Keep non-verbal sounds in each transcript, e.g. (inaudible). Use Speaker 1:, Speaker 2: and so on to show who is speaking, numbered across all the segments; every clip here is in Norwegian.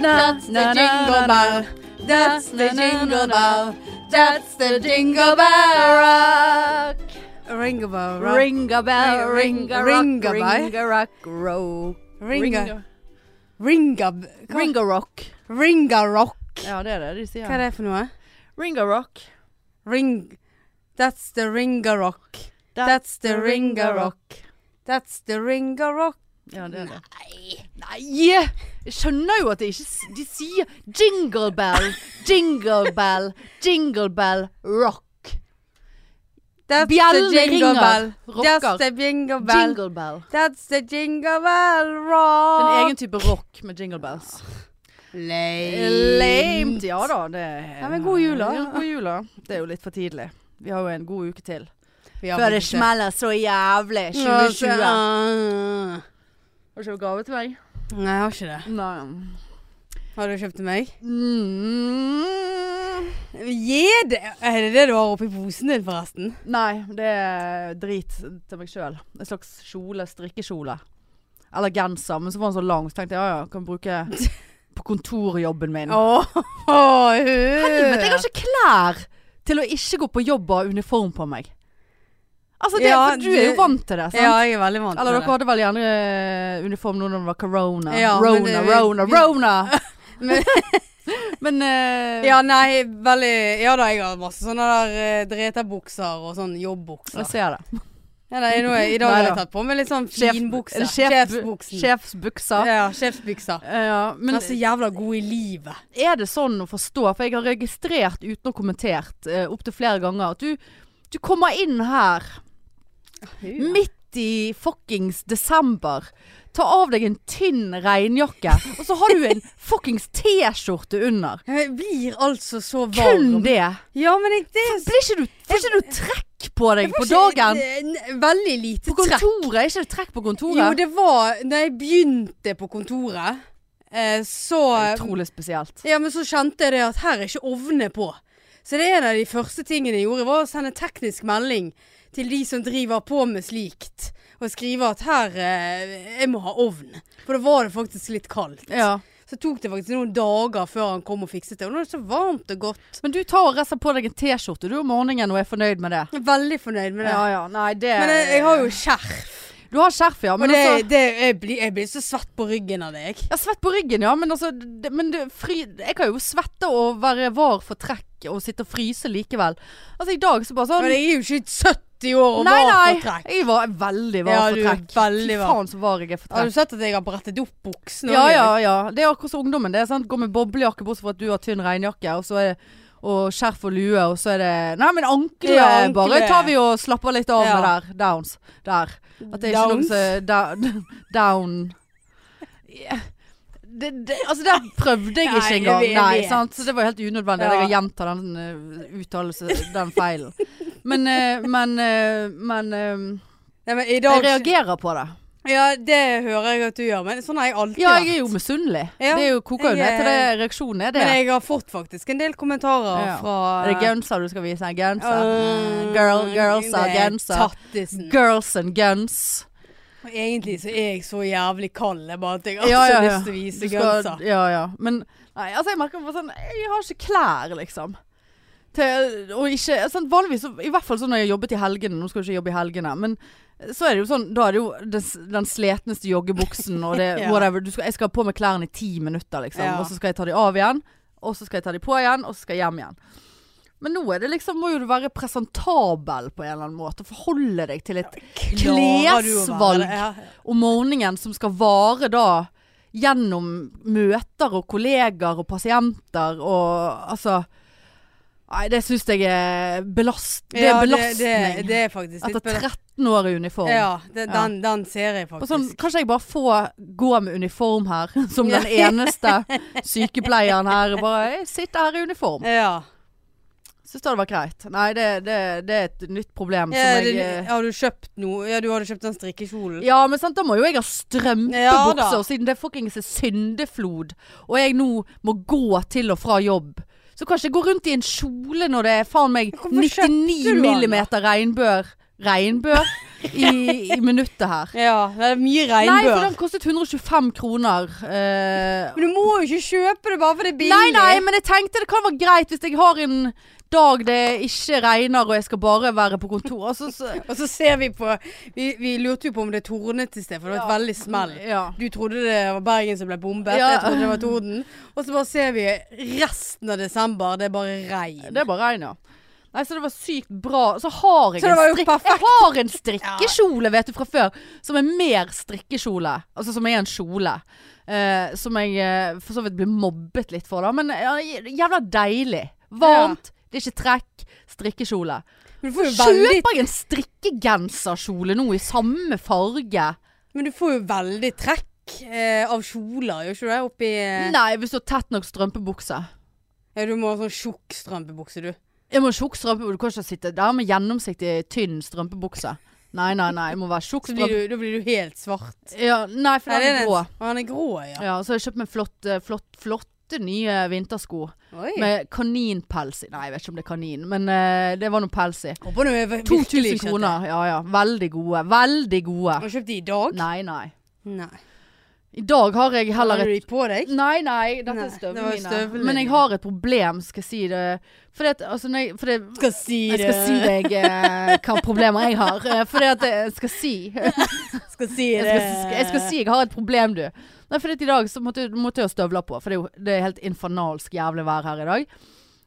Speaker 1: That's the jingle bell. That's the jingle bell. That's the jingle bell rock.
Speaker 2: Ring a bell, rock.
Speaker 1: Ring a bell, ring a rock,
Speaker 2: Ring a bell.
Speaker 1: ring a rock, row.
Speaker 2: Ring a-
Speaker 1: Ring
Speaker 2: Ring a b-
Speaker 1: a- Ring a rock.
Speaker 2: Ring a rock.
Speaker 1: Ja, det er det de
Speaker 2: Hva er
Speaker 1: sier.
Speaker 2: det for noe?
Speaker 1: Ring a rock.
Speaker 2: Ring That's the ring a rock. That's the ring a rock. That's the ring a rock.
Speaker 1: Ja, det er det. Nei! Jeg skjønner jo at de ikke s- De sier jingle bell, jingle bell, jingle bell rock.
Speaker 2: That's
Speaker 1: Bjellene
Speaker 2: the jingle
Speaker 1: ringer.
Speaker 2: bell.
Speaker 1: Rocker.
Speaker 2: That's the jingle bell.
Speaker 1: Jingle bell.
Speaker 2: That's the jingle bell
Speaker 1: Det er
Speaker 2: rock.
Speaker 1: en egen type rock med jingle bells.
Speaker 2: Lame.
Speaker 1: Lamet. Ja da, det er
Speaker 2: Ja, men god jul, da.
Speaker 1: Ja, god jul, da. Det er jo litt for tidlig. Vi har jo en god uke til.
Speaker 2: Vi har
Speaker 1: Før det
Speaker 2: faktisk
Speaker 1: smeller så jævlig. 2020. Har du
Speaker 2: Ah.
Speaker 1: kjøpt gave til meg?
Speaker 2: Nei, jeg har ikke det.
Speaker 1: Nei.
Speaker 2: Har du kjøpt til meg?
Speaker 1: Mm.
Speaker 2: Gi det! Er det det du har oppi posen din, forresten?
Speaker 1: Nei, det er drit til meg sjøl. En slags kjole. Strikkekjole. Eller genser. Men så var den så lang, så tenkte jeg ja ja, kan
Speaker 2: (laughs)
Speaker 1: bruke på kontorjobben min.
Speaker 2: Åh,
Speaker 1: Helvete, jeg
Speaker 2: hør!
Speaker 1: har ikke klær til å ikke gå på jobb og ha uniform på meg. Altså, det,
Speaker 2: Ja,
Speaker 1: for du er jo
Speaker 2: det-
Speaker 1: vant til det, sant?
Speaker 2: Ja, jeg er veldig vant
Speaker 1: Eller
Speaker 2: til
Speaker 1: dere hadde vel gjerne eh, uniform nå når det var corona.
Speaker 2: Ja, men
Speaker 1: rona,
Speaker 2: det- vi-
Speaker 1: rona,
Speaker 2: vi-
Speaker 1: rona!
Speaker 2: (laughs) Men-
Speaker 1: (laughs) Men eh,
Speaker 2: Ja, nei, veldig Ja da, jeg har masse sånne der uh, dreterbukser og sånn jobbbukser.
Speaker 1: jeg ser det.
Speaker 2: Ja, nei, nå er, I
Speaker 1: Nei
Speaker 2: dag har jeg
Speaker 1: da.
Speaker 2: tatt på meg litt sånn
Speaker 1: Sjef-
Speaker 2: finbukse.
Speaker 1: eller sjef-
Speaker 2: Sjefsbuksen.
Speaker 1: Sjefsbuksa.
Speaker 2: Ja, sjefsbuksa.
Speaker 1: Eh, ja,
Speaker 2: Men
Speaker 1: men
Speaker 2: er så jævla god i livet.
Speaker 1: er det sånn å forstå, for jeg har registrert uten å kommentert eh, opp opptil flere ganger, at du, du kommer inn her Midt i fuckings desember. Ta av deg en tynn regnjakke, og så har du en fuckings T-skjorte under.
Speaker 2: Jeg blir altså så varm.
Speaker 1: Kun det.
Speaker 2: Ja, men jeg, det er
Speaker 1: Blir ikke du, får ikke du trekk på deg på
Speaker 2: Ikke-
Speaker 1: dagen?
Speaker 2: n- Veldig lite
Speaker 1: På kontoret? Er ikke det trekk på kontoret?
Speaker 2: Jo, det var Da jeg begynte på kontoret, eh, så
Speaker 1: Utrolig spesielt.
Speaker 2: Ja, men så kjente jeg det at her er ikke ovnene på. Så det er en av de første tingene jeg gjorde, var å sende teknisk melding til de som driver på med slikt. Og skrive at her eh, Jeg må ha ovn. For da var det faktisk litt kaldt.
Speaker 1: Ja.
Speaker 2: Så tok det faktisk noen dager før han kom og fikset det. Og nå er det så varmt og godt.
Speaker 1: Men du tar og reiser på deg en T-skjorte du om morgenen og er fornøyd med det. eh,
Speaker 2: Jeg er veldig fornøyd med det.
Speaker 1: Ja ja, nei det
Speaker 2: Men jeg, jeg har jo skjerf.
Speaker 1: Du har skjerf, ja.
Speaker 2: Og
Speaker 1: Men
Speaker 2: det,
Speaker 1: altså Sånn-
Speaker 2: det, jeg, blir, jeg blir så svett på ryggen av det, jeg.
Speaker 1: Jeg har svett på ryggen, ja. Men altså det, men det, fry, Jeg kan jo svette og være var for trekk og sitte og fryse likevel. Altså i dag så bare sånn
Speaker 2: Men jeg er jo ikke 70 år og
Speaker 1: Nei,
Speaker 2: var
Speaker 1: nei.
Speaker 2: for trekk.
Speaker 1: Jeg var veldig var
Speaker 2: Ja,
Speaker 1: for
Speaker 2: du er
Speaker 1: trekk.
Speaker 2: veldig
Speaker 1: Fy
Speaker 2: var.
Speaker 1: faen så var jeg er for
Speaker 2: Har
Speaker 1: trekk.
Speaker 2: du sett at jeg har brettet opp buksene?
Speaker 1: Ja,
Speaker 2: også?
Speaker 1: ja, ja. Det er akkurat som ungdommen. Det er sant? Går med boblejakke bortsett fra at du har tynn regnjakke, og så er og skjerf og lue, og så er det Nei, men ankelet
Speaker 2: Ja, ankle.
Speaker 1: bare tar vi og slapper litt av med
Speaker 2: Ja.
Speaker 1: der. Downs. Der. At det er ikke
Speaker 2: Downs?
Speaker 1: noe som da, (laughs) Down. Ja. Det, det, altså, der prøvde jeg
Speaker 2: Nei,
Speaker 1: ikke
Speaker 2: jeg
Speaker 1: engang.
Speaker 2: vet.
Speaker 1: Nei, sant? Så det var helt unødvendig at
Speaker 2: Ja.
Speaker 1: jeg gjentar den eh, uttalelse, den feilen. Men, eh, men, eh, men eh,
Speaker 2: Nei, men i
Speaker 1: Jeg
Speaker 2: dag
Speaker 1: reagerer på det.
Speaker 2: Ja, det hører jeg at du gjør, men sånn har jeg alltid
Speaker 1: Ja,
Speaker 2: vært.
Speaker 1: jeg er jo misunnelig.
Speaker 2: Ja,
Speaker 1: det er jo koker jo
Speaker 2: jeg
Speaker 1: ned til det
Speaker 2: er-
Speaker 1: reaksjonen er det.
Speaker 2: Men jeg har fått faktisk en del kommentarer
Speaker 1: Ja.
Speaker 2: fra
Speaker 1: er det gunser du skal vise? Gunser.
Speaker 2: Øh,
Speaker 1: Girl, girls
Speaker 2: det
Speaker 1: are
Speaker 2: er
Speaker 1: gunser.
Speaker 2: Tattisen.
Speaker 1: Girls and guns.
Speaker 2: Og Egentlig så er jeg så jævlig kald, jeg bare altså, at jeg har
Speaker 1: Ja,
Speaker 2: så
Speaker 1: ja, ja.
Speaker 2: lyst til å
Speaker 1: Du
Speaker 2: vise
Speaker 1: skal-
Speaker 2: gunser.
Speaker 1: Ja, ja. Men nei, altså jeg merker bare sånn Jeg har ikke klær, liksom. Til, og ikke sånn, Vanligvis, så- i hvert fall sånn når jeg jobbet i helgene Nå skal jeg ikke jobbe i helgene, men så er det jo sånn Da er det jo den, s- den sletneste joggebuksen og det (laughs)
Speaker 2: Ja.
Speaker 1: whatever. Du skal, jeg skal ha på meg klærne i ti minutter, liksom.
Speaker 2: Ja.
Speaker 1: Og så skal jeg ta de av igjen. Og så skal jeg ta de på igjen, og så skal jeg hjem igjen. Men nå er det liksom, må jo du være presentabel på en eller annen måte. Forholde deg til et
Speaker 2: Klarer du å være det?
Speaker 1: klesvalg
Speaker 2: Ja.
Speaker 1: om morgenen som skal vare da gjennom møter og kolleger og pasienter og altså Nei, det syns jeg er belast... Det er
Speaker 2: Ja,
Speaker 1: belastning.
Speaker 2: Det, det, det er faktisk litt
Speaker 1: etter
Speaker 2: belastning.
Speaker 1: 13 år i uniform.
Speaker 2: Ja, det,
Speaker 1: Ja.
Speaker 2: den, den ser jeg
Speaker 1: Og
Speaker 2: faktisk.
Speaker 1: sånn, kanskje jeg bare får gå med uniform her, (laughs) som den eneste sykepleieren her. Bare jeg sitter her i uniform.
Speaker 2: ja.
Speaker 1: Syns det hadde vært greit. Nei, det, det, det er et nytt problem
Speaker 2: Ja,
Speaker 1: som
Speaker 2: det,
Speaker 1: jeg eh,
Speaker 2: har du kjøpt noe? Ja, du hadde kjøpt den strikkekjolen.
Speaker 1: Ja, men sant, da må jo jeg ha
Speaker 2: Ja,
Speaker 1: strømpebukser,
Speaker 2: da.
Speaker 1: og siden det fuckings er syndeflod, og jeg nå må gå til og fra jobb. Så kan jeg ikke gå rundt i en kjole når det er faen meg
Speaker 2: Hvorfor kjøpte
Speaker 1: 99
Speaker 2: du den da?
Speaker 1: millimeter regnbør regnbør i, i minuttet her.
Speaker 2: Ja, det er mye
Speaker 1: Nei, for
Speaker 2: regnbør.
Speaker 1: den kostet 125 kroner. eh,
Speaker 2: Men du må jo ikke kjøpe det bare for det er billig.
Speaker 1: Nei, nei, men jeg tenkte det kan være greit hvis jeg har en dag det ikke regner og jeg skal bare være på kontor. Altså, så,
Speaker 2: Og så ser vi på Vi, vi lurte jo på om det tornet i sted, for det var et veldig smell.
Speaker 1: ja.
Speaker 2: Du trodde det var Bergen som ble bombet,
Speaker 1: Ja.
Speaker 2: jeg trodde det var torden. Og så bare ser vi resten av desember, det er bare regn.
Speaker 1: Det er bare regn, ja. Nei, så det var sykt bra. Så har jeg,
Speaker 2: Så det var jo
Speaker 1: en, strikk, jeg
Speaker 2: perfekt. (laughs)
Speaker 1: har en strikkekjole, vet du, fra før. Som er mer strikkekjole. Altså som er en kjole. Eh, som jeg eh, for så vidt blir mobbet litt for, da. Men ja, jævla deilig. Varmt. Det er ikke trekk. Strikkekjole.
Speaker 2: Men du får jo veldig,
Speaker 1: Kjøper jeg en strikkegenserkjole nå i samme farge?
Speaker 2: men du får jo veldig trekk eh, av kjoler, gjør ikke du det? Oppi eh,
Speaker 1: Nei, hvis du har tett nok strømpebukse.
Speaker 2: ja, Du må ha sånn tjukk strømpebukse, du.
Speaker 1: Jeg må ha tjukk strømpebukse. Du kan ikke sitte der med gjennomsiktig, tynn strømpebukse. Nei, nei, nei. Jeg må være tjukk
Speaker 2: Så blir
Speaker 1: strømpe...
Speaker 2: du, da blir du helt svart.
Speaker 1: Ja, nei, for
Speaker 2: Nei,
Speaker 1: den
Speaker 2: det er
Speaker 1: er
Speaker 2: den-
Speaker 1: grå.
Speaker 2: Å, Han er grå, ja.
Speaker 1: Ja, så har jeg kjøpt meg flott, eh, flott, flotte nye vintersko
Speaker 2: Oi.
Speaker 1: med kaninpels i. Nei, jeg vet ikke om det er kanin, men eh, det var noe pels i.
Speaker 2: Håper nå jeg virkelig
Speaker 1: 2000
Speaker 2: ikke at
Speaker 1: kroner. Ja, ja. Veldig gode. Veldig gode.
Speaker 2: jeg- Har du kjøpt de i dag?
Speaker 1: Nei, nei.
Speaker 2: Nei.
Speaker 1: I dag har jeg heller et
Speaker 2: Har du de på deg?
Speaker 1: Nei, nei, dette
Speaker 2: Nei,
Speaker 1: er
Speaker 2: det var
Speaker 1: støvlene mine.
Speaker 2: støvlene
Speaker 1: Men jeg
Speaker 2: dine.
Speaker 1: har et problem, skal jeg si det. Fordi at, altså, når jeg, fordi
Speaker 2: Skal si
Speaker 1: jeg skal si deg eh, (laughs) hva problemer jeg har. Eh, Fordi at jeg skal si
Speaker 2: (laughs)
Speaker 1: jeg skal,
Speaker 2: Skal si det.
Speaker 1: sk- jeg skal si jeg har et problem, du. Nei, fordi at i dag så måtte, måtte jeg ha støvler på. For det er jo det er helt infernalsk jævlig vær her i dag.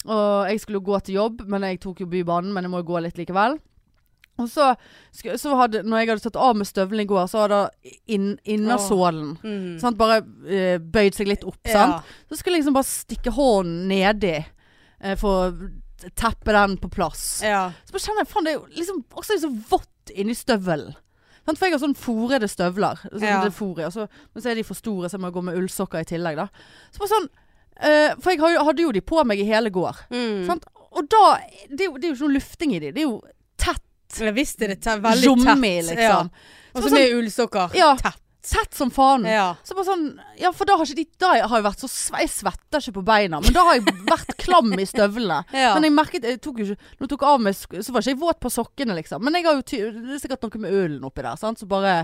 Speaker 1: Og jeg skulle jo gå til jobb, men jeg tok jo Bybanen. Men jeg må jo gå litt likevel. Og så, sku- så hadde, når jeg hadde tatt av meg støvlene i går, så hadde inn, innersålen
Speaker 2: Mm.
Speaker 1: sant, bare eh, bøyd seg litt opp. Sant? Så skulle jeg liksom bare stikke hånden nedi eh, for å teppe den på plass.
Speaker 2: Ja. ja.
Speaker 1: Så bare kjenner jeg, faen, det er jo liksom også litt så vått inni støvelen. Sant? For jeg har sånn forede støvler. Sånn
Speaker 2: Ja.
Speaker 1: det er fore, og så, men så er de for store, så jeg må gå med ullsokker i tillegg, da. Så bare sånn, eh, for jeg har jo- hadde jo de på meg i hele går.
Speaker 2: Mm.
Speaker 1: Sant? Og da det er, jo, det er jo ikke noe lufting i de. Det er jo tett.
Speaker 2: Jeg visste det te veldig
Speaker 1: Jommi,
Speaker 2: tett.
Speaker 1: liksom.
Speaker 2: Ja.
Speaker 1: Så
Speaker 2: Og så
Speaker 1: sånn-
Speaker 2: med ullsokker.
Speaker 1: Ja.
Speaker 2: Tett.
Speaker 1: Tett som faen.
Speaker 2: Ja.
Speaker 1: Så bare sånn, ja for da har, ikke de, da har jeg vært så sve- Jeg svetter ikke på beina, men da har jeg vært klam i støvlene.
Speaker 2: Ja.
Speaker 1: Men jeg merket jeg tok jo ikke, Når jeg tok av meg sk- Så var ikke jeg våt på sokkene, liksom. Men jeg har jo ty det er sikkert noe med ullen oppi der. Sant? Så bare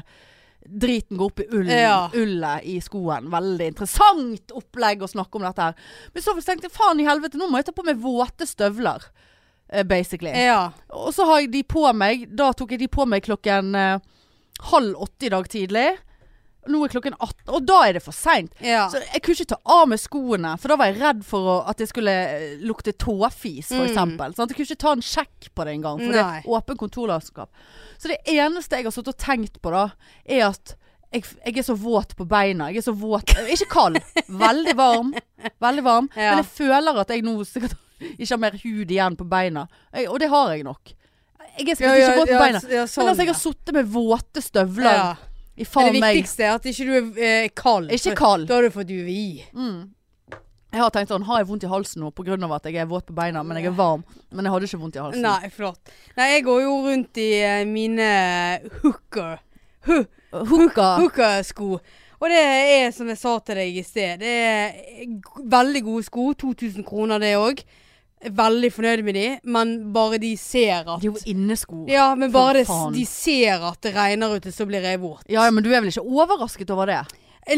Speaker 1: driten går opp i ullen,
Speaker 2: Ja.
Speaker 1: ullet i skoen. Veldig interessant opplegg å snakke om dette her. Men så tenkte jeg faen i helvete, nå må jeg ta på meg våte støvler. eh, Basically.
Speaker 2: ja.
Speaker 1: Og så har jeg de på meg Da tok jeg de på meg klokken eh, halv åtte i dag tidlig. Nå er klokken 18, og da er det for seint.
Speaker 2: ja.
Speaker 1: Så jeg kunne ikke ta av meg skoene, for da var jeg redd for å, at det skulle eh, lukte tåfis,
Speaker 2: Mm.
Speaker 1: f.eks. eksempel Sant? jeg kunne ikke ta en sjekk på det engang, for det
Speaker 2: Nei.
Speaker 1: er åpen kontorlandskap. Så det eneste jeg har sittet og tenkt på da, er at jeg, jeg er så våt på beina. Jeg er så våt jeg er Ikke kald. Veldig varm. Veldig varm.
Speaker 2: Ja.
Speaker 1: Men jeg føler at jeg nå sikkert ikke har mer hud igjen på beina. Jeg, og det har jeg nok. Jeg er sikkert ikke våt på beina.
Speaker 2: ja, sånn,
Speaker 1: Men altså, jeg
Speaker 2: ja.
Speaker 1: har sittet med våte støvler
Speaker 2: ja.
Speaker 1: i
Speaker 2: Men
Speaker 1: faen
Speaker 2: det
Speaker 1: meg
Speaker 2: viktigste er at ikke du er eh, kald.
Speaker 1: Ikke
Speaker 2: for
Speaker 1: kald.
Speaker 2: Da har du fått UVI.
Speaker 1: Jeg har tenkt sånn, har jeg vondt i halsen nå pga. at jeg er våt på beina, men jeg er varm. Men jeg hadde ikke vondt i halsen.
Speaker 2: Nei, flott. Nei, jeg går jo rundt i eh, mine hooker. Hu
Speaker 1: Hooka.
Speaker 2: Hooker-sko. Og det er som jeg sa til deg i sted, det er g- veldig gode sko. 2000 kroner det òg. Veldig fornøyd med de, men bare de ser
Speaker 1: Det er jo
Speaker 2: at
Speaker 1: innesko. Ja.
Speaker 2: Ja, men
Speaker 1: for
Speaker 2: bare det,
Speaker 1: faen.
Speaker 2: de ser at det regner ute, så blir jeg våt.
Speaker 1: ja, men du er vel ikke overrasket over det?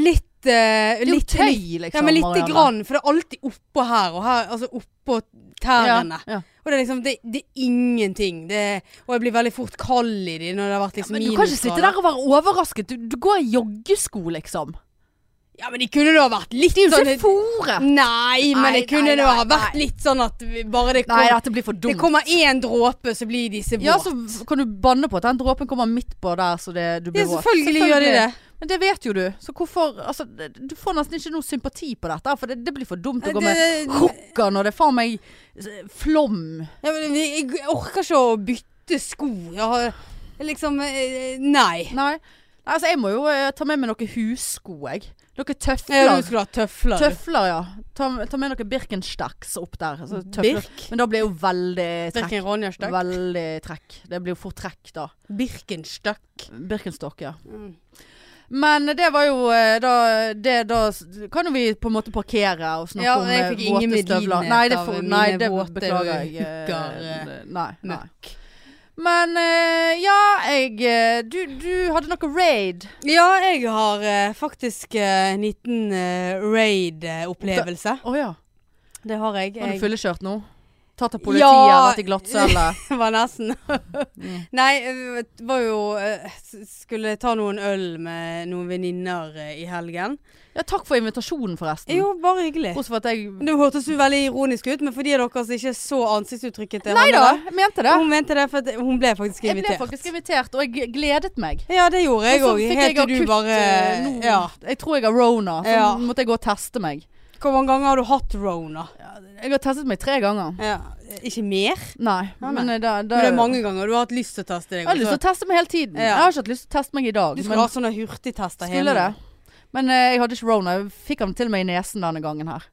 Speaker 2: Litt eh,
Speaker 1: Det er jo
Speaker 2: litt, litt,
Speaker 1: tøy, liksom.
Speaker 2: Ja, men lite
Speaker 1: Marianne.
Speaker 2: grann, for det er alltid oppå her og her. Altså oppå tærne.
Speaker 1: Ja, ja.
Speaker 2: Og det er liksom Det, det er ingenting. Det, og jeg blir veldig fort kald i de når det har vært liksom
Speaker 1: Men du kan ikke sitte
Speaker 2: minusgrader.
Speaker 1: der og være overrasket. Du, du går i joggesko, liksom.
Speaker 2: Ja, men de kunne da vært litt
Speaker 1: Det er jo
Speaker 2: sånn
Speaker 1: ikke fore.
Speaker 2: Nei, men
Speaker 1: Nei,
Speaker 2: det kunne
Speaker 1: nei,
Speaker 2: da ha
Speaker 1: nei,
Speaker 2: vært
Speaker 1: nei.
Speaker 2: litt sånn at vi bare det,
Speaker 1: Nei,
Speaker 2: kom,
Speaker 1: dette blir for
Speaker 2: det
Speaker 1: dumt.
Speaker 2: kommer én dråpe, så blir disse våte.
Speaker 1: Ja, så kan du banne på at den dråpen kommer midt på der, så det, du blir
Speaker 2: Ja,
Speaker 1: våt.
Speaker 2: selvfølgelig gjør de det.
Speaker 1: Men det vet jo du. Så hvorfor Altså, det- du får nesten ikke noe sympati på dette, for det, det blir for dumt å gå med
Speaker 2: Det-
Speaker 1: hooker når det er faen meg eh, flom.
Speaker 2: Ja, men jeg jeg orker ikke å bytte sko. Jeg har liksom eh,
Speaker 1: Nei.
Speaker 2: Nei.
Speaker 1: Nei, Altså, jeg må jo eh, ta med meg noen hussko, jeg. Noen
Speaker 2: Ja, du
Speaker 1: tøfler.
Speaker 2: skulle ha tøfler. du.
Speaker 1: Tøfler, ja. Ta, ta med noen Birkenstacks opp der. Altså, tøfler.
Speaker 2: Birk.
Speaker 1: Men da blir jeg jo veldig trekk.
Speaker 2: Birken Ronja-stakk.
Speaker 1: Veldig trekk. Det blir jo fort trekk, da.
Speaker 2: Birkenstøkk.
Speaker 1: Birkenstock, ja.
Speaker 2: Mm.
Speaker 1: Men det var jo eh, da det, Da s- kan jo vi på en måte parkere og snakke
Speaker 2: Ja,
Speaker 1: om
Speaker 2: jeg
Speaker 1: eh,
Speaker 2: fikk
Speaker 1: våte
Speaker 2: ingen medlidenhet
Speaker 1: støvler. Nei, det,
Speaker 2: av
Speaker 1: får-
Speaker 2: mine
Speaker 1: nei, det
Speaker 2: våte
Speaker 1: beklager jeg. eh,
Speaker 2: hooker, eh,
Speaker 1: Nei, nei.
Speaker 2: Møkk.
Speaker 1: Men eh, ja, jeg eh, Du, du hadde noe raid.
Speaker 2: Ja, jeg har eh, faktisk eh, en liten eh, raid-opplevelse.
Speaker 1: Å ja.
Speaker 2: Det har jeg.
Speaker 1: Var du
Speaker 2: jeg.
Speaker 1: fyllekjørt nå? Tatt av politiet,
Speaker 2: Ja.
Speaker 1: vært i glattcelle?
Speaker 2: (laughs) var nesten.
Speaker 1: Mm.
Speaker 2: Nei, eh, var jo eh, s- Skulle ta noen øl med noen venninner eh, i helgen.
Speaker 1: (laughs) Ja, takk for invitasjonen, forresten.
Speaker 2: Jo, bare hyggelig.
Speaker 1: Bortsett fra at jeg
Speaker 2: Det hørtes jo veldig ironisk ut, men for de av dere som ikke så ansiktsuttrykket til
Speaker 1: Nei da,
Speaker 2: Hanne,
Speaker 1: jeg mente
Speaker 2: da,
Speaker 1: det.
Speaker 2: Hun mente det, for at hun ble faktisk
Speaker 1: Jeg ble
Speaker 2: invitert.
Speaker 1: faktisk invitert, og jeg gledet meg.
Speaker 2: Ja, det gjorde jeg
Speaker 1: Og så
Speaker 2: òg.
Speaker 1: fikk jeg
Speaker 2: Helt til du
Speaker 1: akutt,
Speaker 2: bare
Speaker 1: eh, nå-
Speaker 2: Ja.
Speaker 1: Jeg tror jeg har rona, så
Speaker 2: Ja.
Speaker 1: måtte jeg gå og teste meg.
Speaker 2: Hvor mange ganger har du hatt rona?
Speaker 1: Jeg har testet meg tre ganger.
Speaker 2: Ja. Ikke mer?
Speaker 1: Nei,
Speaker 2: Ja, Ah, nei.
Speaker 1: men eh, da, da
Speaker 2: Men det er mange ganger du har hatt lyst til å teste deg.
Speaker 1: Jeg har lyst til
Speaker 2: også.
Speaker 1: å teste meg hele tiden.
Speaker 2: Ja.
Speaker 1: Jeg har ikke hatt lyst til å teste meg i dag.
Speaker 2: Du skulle
Speaker 1: Men
Speaker 2: ha sånne hurtigtester
Speaker 1: skulle det. Men eh, jeg hadde ikke rona. Jeg fikk han til meg i nesen denne gangen her.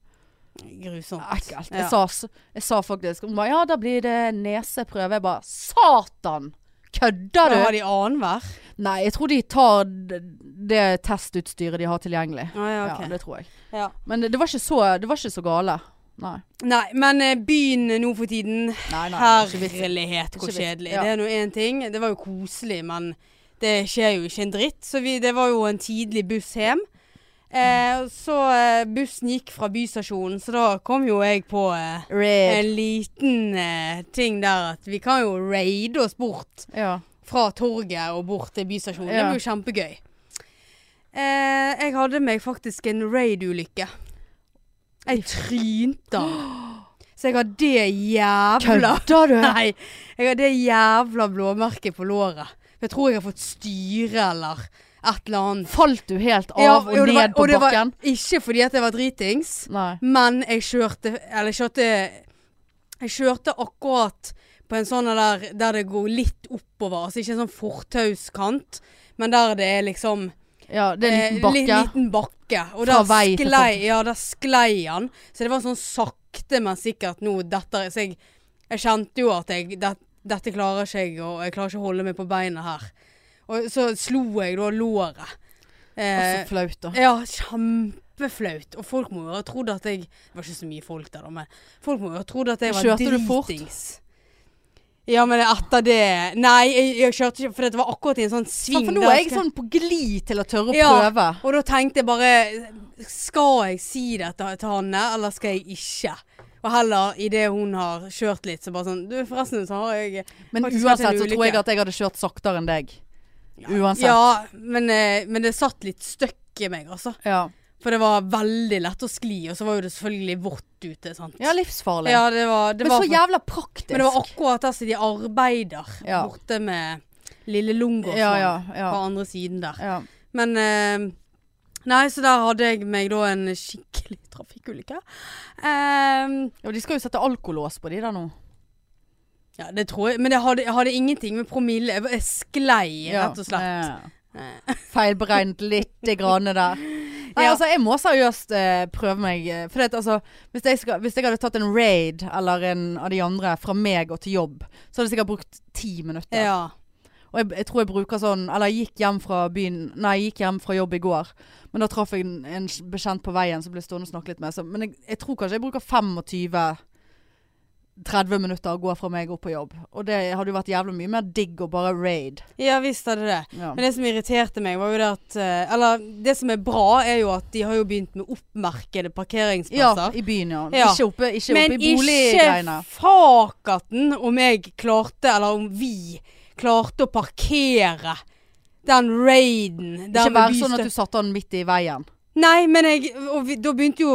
Speaker 2: Grusomt.
Speaker 1: Ekkelt.
Speaker 2: Ja.
Speaker 1: Jeg, sa, s- jeg sa faktisk Hun ba, ja, da blir det neseprøve. Jeg bare Satan! Kødder
Speaker 2: Da
Speaker 1: du?
Speaker 2: har de annenhver.
Speaker 1: Nei, jeg tror de tar d- det testutstyret de har tilgjengelig.
Speaker 2: Ah, ja, ok.
Speaker 1: Ja, det tror jeg.
Speaker 2: ja.
Speaker 1: Men det, det, var ikke så, det var ikke så gale. Nei.
Speaker 2: Nei, men eh, byen nå for tiden
Speaker 1: Nei, nei, det er ikke vits.
Speaker 2: Herlighet, hvor
Speaker 1: Ikke vits,
Speaker 2: kjedelig.
Speaker 1: ja.
Speaker 2: Det er nå én ting. Det var jo koselig, men det skjer jo ikke en dritt. Så vi, det var jo en tidlig buss hjem. Eh, og så eh, bussen gikk fra bystasjonen, så da kom jo jeg på eh, en liten eh, ting der at vi kan jo raide oss bort
Speaker 1: Ja.
Speaker 2: fra torget og bort til bystasjonen. Det
Speaker 1: Ja.
Speaker 2: blir jo kjempegøy. Eh, jeg hadde meg faktisk en raid-ulykke. Jeg trynte den. Så jeg har det jævla
Speaker 1: Kødder du?
Speaker 2: (laughs) Nei, jeg har det jævla blåmerket på låret. Jeg tror jeg har fått styre eller et eller annet.
Speaker 1: Falt du helt av
Speaker 2: Ja,
Speaker 1: og
Speaker 2: jo, det var-
Speaker 1: ned på
Speaker 2: og det var
Speaker 1: bakken?
Speaker 2: Ikke fordi at jeg var dritings.
Speaker 1: Nei.
Speaker 2: Men jeg kjørte Eller jeg kjørte Jeg kjørte akkurat på en sånn der der det går litt oppover. Altså ikke en sånn fortauskant, men der det er liksom
Speaker 1: Ja, det er en liten
Speaker 2: eh, li-
Speaker 1: bakke.
Speaker 2: liten bakke. Og
Speaker 1: Fra
Speaker 2: der
Speaker 1: vei til
Speaker 2: sklei, ja, der sklei han. Så det var sånn sakte, men sikkert nå dette Så jeg, jeg kjente jo at jeg det, Dette klarer ikke jeg, og jeg klarer ikke å holde meg på beina her. Og så slo jeg da låret. Eh,
Speaker 1: Så flaut, da.
Speaker 2: Ja, kjempeflaut. Og folk må jo ha trodd at jeg Det var ikke så mye folk der, da, men folk må jo ha trodd at jeg var
Speaker 1: Kjørte du fort?
Speaker 2: dritings. Ja, men etter det Nei, jeg, jeg kjørte ikke, for det var akkurat i en sånn sving.
Speaker 1: Faen, for nå
Speaker 2: der
Speaker 1: er jeg
Speaker 2: skal-
Speaker 1: sånn på glid til å tørre å
Speaker 2: Ja.
Speaker 1: prøve.
Speaker 2: Og da tenkte jeg bare Skal jeg si dette til Hanne, eller skal jeg ikke? Og heller idet hun har kjørt litt, så bare sånn Du, forresten så har jeg
Speaker 1: Men
Speaker 2: Faktisk
Speaker 1: uansett
Speaker 2: vært
Speaker 1: så
Speaker 2: en
Speaker 1: tror jeg
Speaker 2: ulykke.
Speaker 1: at jeg hadde kjørt saktere enn deg. Uansett.
Speaker 2: Ja, men, eh, men det satt litt støkk i meg, altså.
Speaker 1: Ja,
Speaker 2: For det var veldig lett å skli, og så var jo det selvfølgelig vått ute, sant.
Speaker 1: ja livsfarlig.
Speaker 2: Ja, det var, det
Speaker 1: Men
Speaker 2: var
Speaker 1: så
Speaker 2: for-
Speaker 1: jævla praktisk.
Speaker 2: Men det var akkurat der som de arbeider
Speaker 1: Ja.
Speaker 2: borte med Lille Lungås
Speaker 1: ja, ja, sånn. ja,
Speaker 2: på andre siden der.
Speaker 1: ja.
Speaker 2: Men eh, Nei, så der hadde jeg meg da en skikkelig (laughs) trafikkulykke. Ehm,
Speaker 1: ja. De skal jo sette alkolås på de der nå.
Speaker 2: ja, det tror jeg. Men det hadde, jeg hadde ingenting med promille Jeg var- Jeg sklei,
Speaker 1: Ja.
Speaker 2: rett og slett. Eh.
Speaker 1: Ja. (laughs) Feilberegnet lite grann
Speaker 2: (laughs)
Speaker 1: der. Nei,
Speaker 2: Ja.
Speaker 1: altså, jeg må seriøst eh, prøve meg. eh, For det, at, altså, hvis, jeg skal, hvis jeg hadde tatt en raid eller en av de andre fra meg og til jobb, så hadde jeg sikkert brukt ti minutter.
Speaker 2: Ja.
Speaker 1: Og jeg, jeg tror jeg bruker sånn Eller jeg gikk hjem fra byen Nei, jeg gikk hjem fra jobb i går Men da traff jeg en, en bekjent på veien Som ble stående og snakke litt med så, Men jeg, jeg tror kanskje jeg bruker 25-30 minutter Å gå fra meg opp på jobb Og det hadde jo vært jævlig mye mer digg Å bare raid
Speaker 2: ja visst hadde det.
Speaker 1: ja.
Speaker 2: Men det som irriterte meg, var jo det at eh, Eller det som er bra, er jo at de har jo begynt med oppmerkede
Speaker 1: ja,
Speaker 2: parkeringsplasser.
Speaker 1: i byen ja,
Speaker 2: Ja.
Speaker 1: Ikke oppe, ikke
Speaker 2: Men
Speaker 1: oppe i boliggreiene
Speaker 2: ikke fakaten om jeg klarte, eller om vi klarte å parkere den raiden. der
Speaker 1: Ikke
Speaker 2: med
Speaker 1: være sånn
Speaker 2: bystø-
Speaker 1: at du satte den midt i veien
Speaker 2: Nei, men jeg, og vi, da begynte jo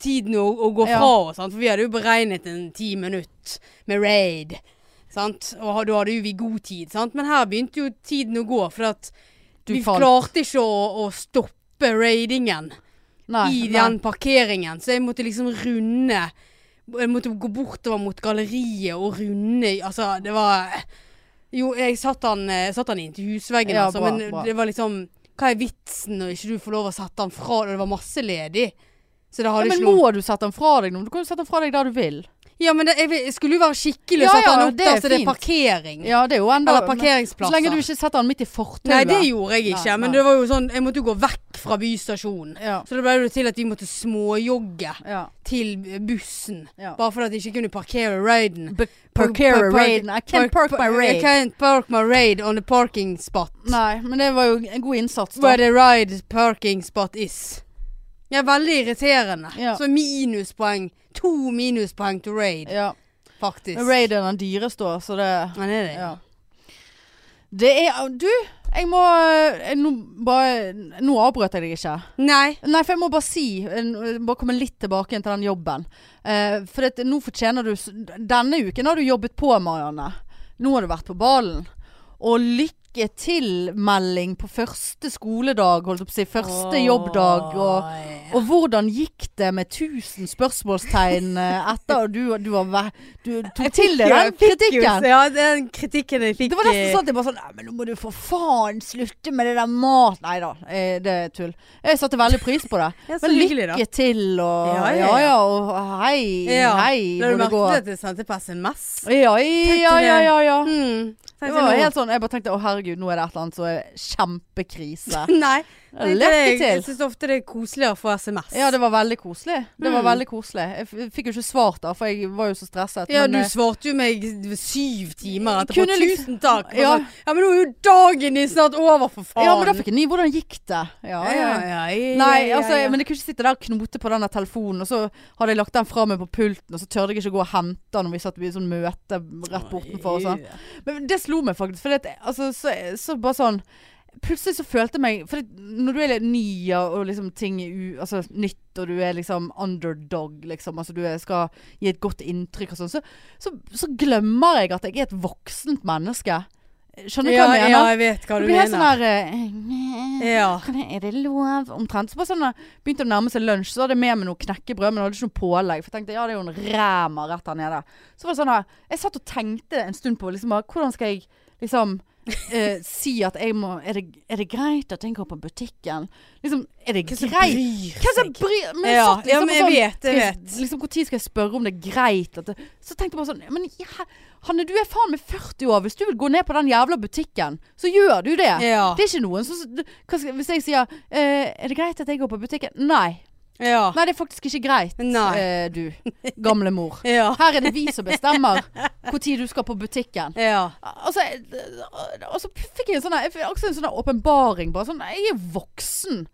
Speaker 2: tiden å, å gå
Speaker 1: Ja.
Speaker 2: fra oss, sant? for vi hadde jo beregnet en ti minutt med raid. Sant? Og ha- da hadde jo vi god tid, sant? men her begynte jo tiden å gå, for at
Speaker 1: Du
Speaker 2: vi
Speaker 1: falt.
Speaker 2: klarte ikke å, å stoppe raidingen
Speaker 1: Nei,
Speaker 2: i den parkeringen. Så jeg måtte liksom runde Jeg måtte gå bortover mot galleriet og runde Altså, det var Jo, jeg satt han, eh, satt han inntil husveggen,
Speaker 1: Ja,
Speaker 2: altså,
Speaker 1: bra,
Speaker 2: men
Speaker 1: bra.
Speaker 2: det var liksom Hva er vitsen når ikke du får lov å sette han fra? Og det var masse ledig. Så det
Speaker 1: nei.
Speaker 2: hadde
Speaker 1: ja,
Speaker 2: ikke
Speaker 1: Men
Speaker 2: noe
Speaker 1: må du sette den fra deg nå? Du kan jo sette den fra deg der du vil
Speaker 2: Ja, men det, jeg, vil- jeg skulle jo være skikkelig
Speaker 1: Ja,
Speaker 2: og satt
Speaker 1: ja,
Speaker 2: han opp
Speaker 1: det
Speaker 2: der,
Speaker 1: er
Speaker 2: så det er
Speaker 1: fint.
Speaker 2: parkering.
Speaker 1: Ja, det er jo enda
Speaker 2: Eller
Speaker 1: Så
Speaker 2: parkeringsplasser.
Speaker 1: lenge du ikke setter den midt i fortauet.
Speaker 2: Nei, det gjorde jeg ikke.
Speaker 1: Nei,
Speaker 2: Men
Speaker 1: nei.
Speaker 2: det var jo sånn, jeg måtte jo gå vekk fra bystasjonen.
Speaker 1: Ja.
Speaker 2: Så det ble det til at vi måtte småjogge
Speaker 1: ja.
Speaker 2: til bussen.
Speaker 1: Ja.
Speaker 2: Bare fordi at jeg ikke kunne parkere raiden.
Speaker 1: Parkere
Speaker 2: park-
Speaker 1: raiden. I can't park my
Speaker 2: I
Speaker 1: raid.
Speaker 2: can't park my raid on the parking spot.
Speaker 1: Nei, men det var jo en god innsats, da.
Speaker 2: Where the ride parking spot is. Ja, veldig irriterende.
Speaker 1: Ja.
Speaker 2: Så minuspoeng. To minuspoeng til raid,
Speaker 1: Ja.
Speaker 2: faktisk.
Speaker 1: Men Raid er den dyreste, da, så det
Speaker 2: Men er det?
Speaker 1: Ja. Det er Du, jeg må jeg, nå, bare, nå avbrøt jeg deg ikke.
Speaker 2: Nei.
Speaker 1: Nei, for jeg må bare si eh, Bare komme litt tilbake igjen til den jobben. Eh, for det, nå fortjener du s- Denne uken har du jobbet på, Marianne. Nå har du vært på ballen. Og lykke til-melding på første skoledag, holdt jeg på å si. Første jobbdag. Og,
Speaker 2: Åh,
Speaker 1: og hvordan gikk det med 1000 spørsmålstegn eh, etter du, du, har, væ- du tok til deg
Speaker 2: ja,
Speaker 1: den kritikken?
Speaker 2: Ja, den kritikken jeg fikk
Speaker 1: Det var nesten
Speaker 2: eh,
Speaker 1: sånn at jeg bare sånn Nei, men nå må du for faen slutte med det der mat... Nei da, eh, det er tull. Jeg satte veldig pris på det.
Speaker 2: Ja, så
Speaker 1: Men
Speaker 2: hyggelig, da.
Speaker 1: lykke til og
Speaker 2: Ja,
Speaker 1: ja
Speaker 2: ja,
Speaker 1: ja,
Speaker 2: ja.
Speaker 1: og hei, hei, hvor
Speaker 2: Da du
Speaker 1: det
Speaker 2: merket
Speaker 1: går.
Speaker 2: at jeg sendte på SMS.
Speaker 1: Ja, ja, ja, ja, ja.
Speaker 2: Mm.
Speaker 1: Det var helt sånn, jeg bare tenkte å herregud, nå er det et eller annet som er kjempekrise.
Speaker 2: (laughs) Nei. det-
Speaker 1: Lykke
Speaker 2: det- Jeg
Speaker 1: til.
Speaker 2: syns ofte det er koseligere å få SMS.
Speaker 1: Ja, det var veldig koselig. Det var
Speaker 2: Mm.
Speaker 1: veldig koselig. Jeg f- fikk jo ikke svart da, for jeg var jo så stresset.
Speaker 2: Ja,
Speaker 1: men,
Speaker 2: du
Speaker 1: eh,
Speaker 2: svarte jo meg syv timer etterpå.
Speaker 1: Kunne liksom-
Speaker 2: Tusen takk. Og
Speaker 1: Ja.
Speaker 2: sånn, ja, men nå er jo dagen din snart over, for faen.
Speaker 1: ja, men da fikk jeg ny. Hvordan gikk det? Ja,
Speaker 2: ja,
Speaker 1: ja, ja.
Speaker 2: ja, ja,
Speaker 1: Nei,
Speaker 2: ja,
Speaker 1: altså,
Speaker 2: ja.
Speaker 1: men jeg kunne ikke sitte der og knote på den der telefonen, og så hadde jeg lagt den fra meg på pulten, og så tørde jeg ikke gå og hente den når vi satt i sånn møte rett bortenfor og sånn. Men det slo meg faktisk, for det, altså, så, så bare sånn Plutselig så følte jeg meg For det, når du er litt ny ja, og liksom ting er u, altså, nytt, og du er liksom underdog, liksom, altså du er, skal gi et godt inntrykk og sånn, så, så, så glemmer jeg at jeg er et voksent menneske. Skjønner du
Speaker 2: ja,
Speaker 1: hva jeg
Speaker 2: ja,
Speaker 1: mener?
Speaker 2: jeg vet hva
Speaker 1: det
Speaker 2: du
Speaker 1: blir helt sånn
Speaker 2: mener.
Speaker 1: her eh,
Speaker 2: Ja.
Speaker 1: kan jeg- Er det lov? Omtrent. Så bare sånn, eh, begynte å nærme seg lunsj, så hadde jeg med meg noe knekkebrød, men jeg hadde ikke noe pålegg. For jeg tenkte ja, det er jo en ræma rett her nede. Så var det sånn her Jeg satt og tenkte en stund på liksom, bare, hvordan skal jeg liksom eh, (laughs) si at jeg må er det, er det greit at jeg går på butikken? Liksom, er det
Speaker 2: Hvem som
Speaker 1: greit?
Speaker 2: bryr
Speaker 1: Hva som
Speaker 2: seg?
Speaker 1: bryr Men jeg
Speaker 2: Ja,
Speaker 1: satt
Speaker 2: ja,
Speaker 1: liksom
Speaker 2: men
Speaker 1: og
Speaker 2: jeg
Speaker 1: sånn
Speaker 2: vet, jeg vet.
Speaker 1: Liksom, Når skal jeg spørre om det er greit? At det, så tenkte jeg bare sånn ja, Men ja, Hanne, du er faen meg 40 år. Hvis du vil gå ned på den jævla butikken, så gjør du det.
Speaker 2: Ja.
Speaker 1: Det er ikke noen som hva skal, Hvis jeg sier eh, Er det greit at jeg går på butikken? Nei.
Speaker 2: Ja.
Speaker 1: Nei, det er faktisk ikke greit,
Speaker 2: Ah. Nei.
Speaker 1: eh, du. Gamle mor.
Speaker 2: (laughs) Ja.
Speaker 1: Her er det vi som bestemmer når du skal på butikken.
Speaker 2: ja.
Speaker 1: Altså, eh, og så fikk jeg en sånn her- jeg fikk også en sånn her åpenbaring. Bare sånn Jeg er voksen.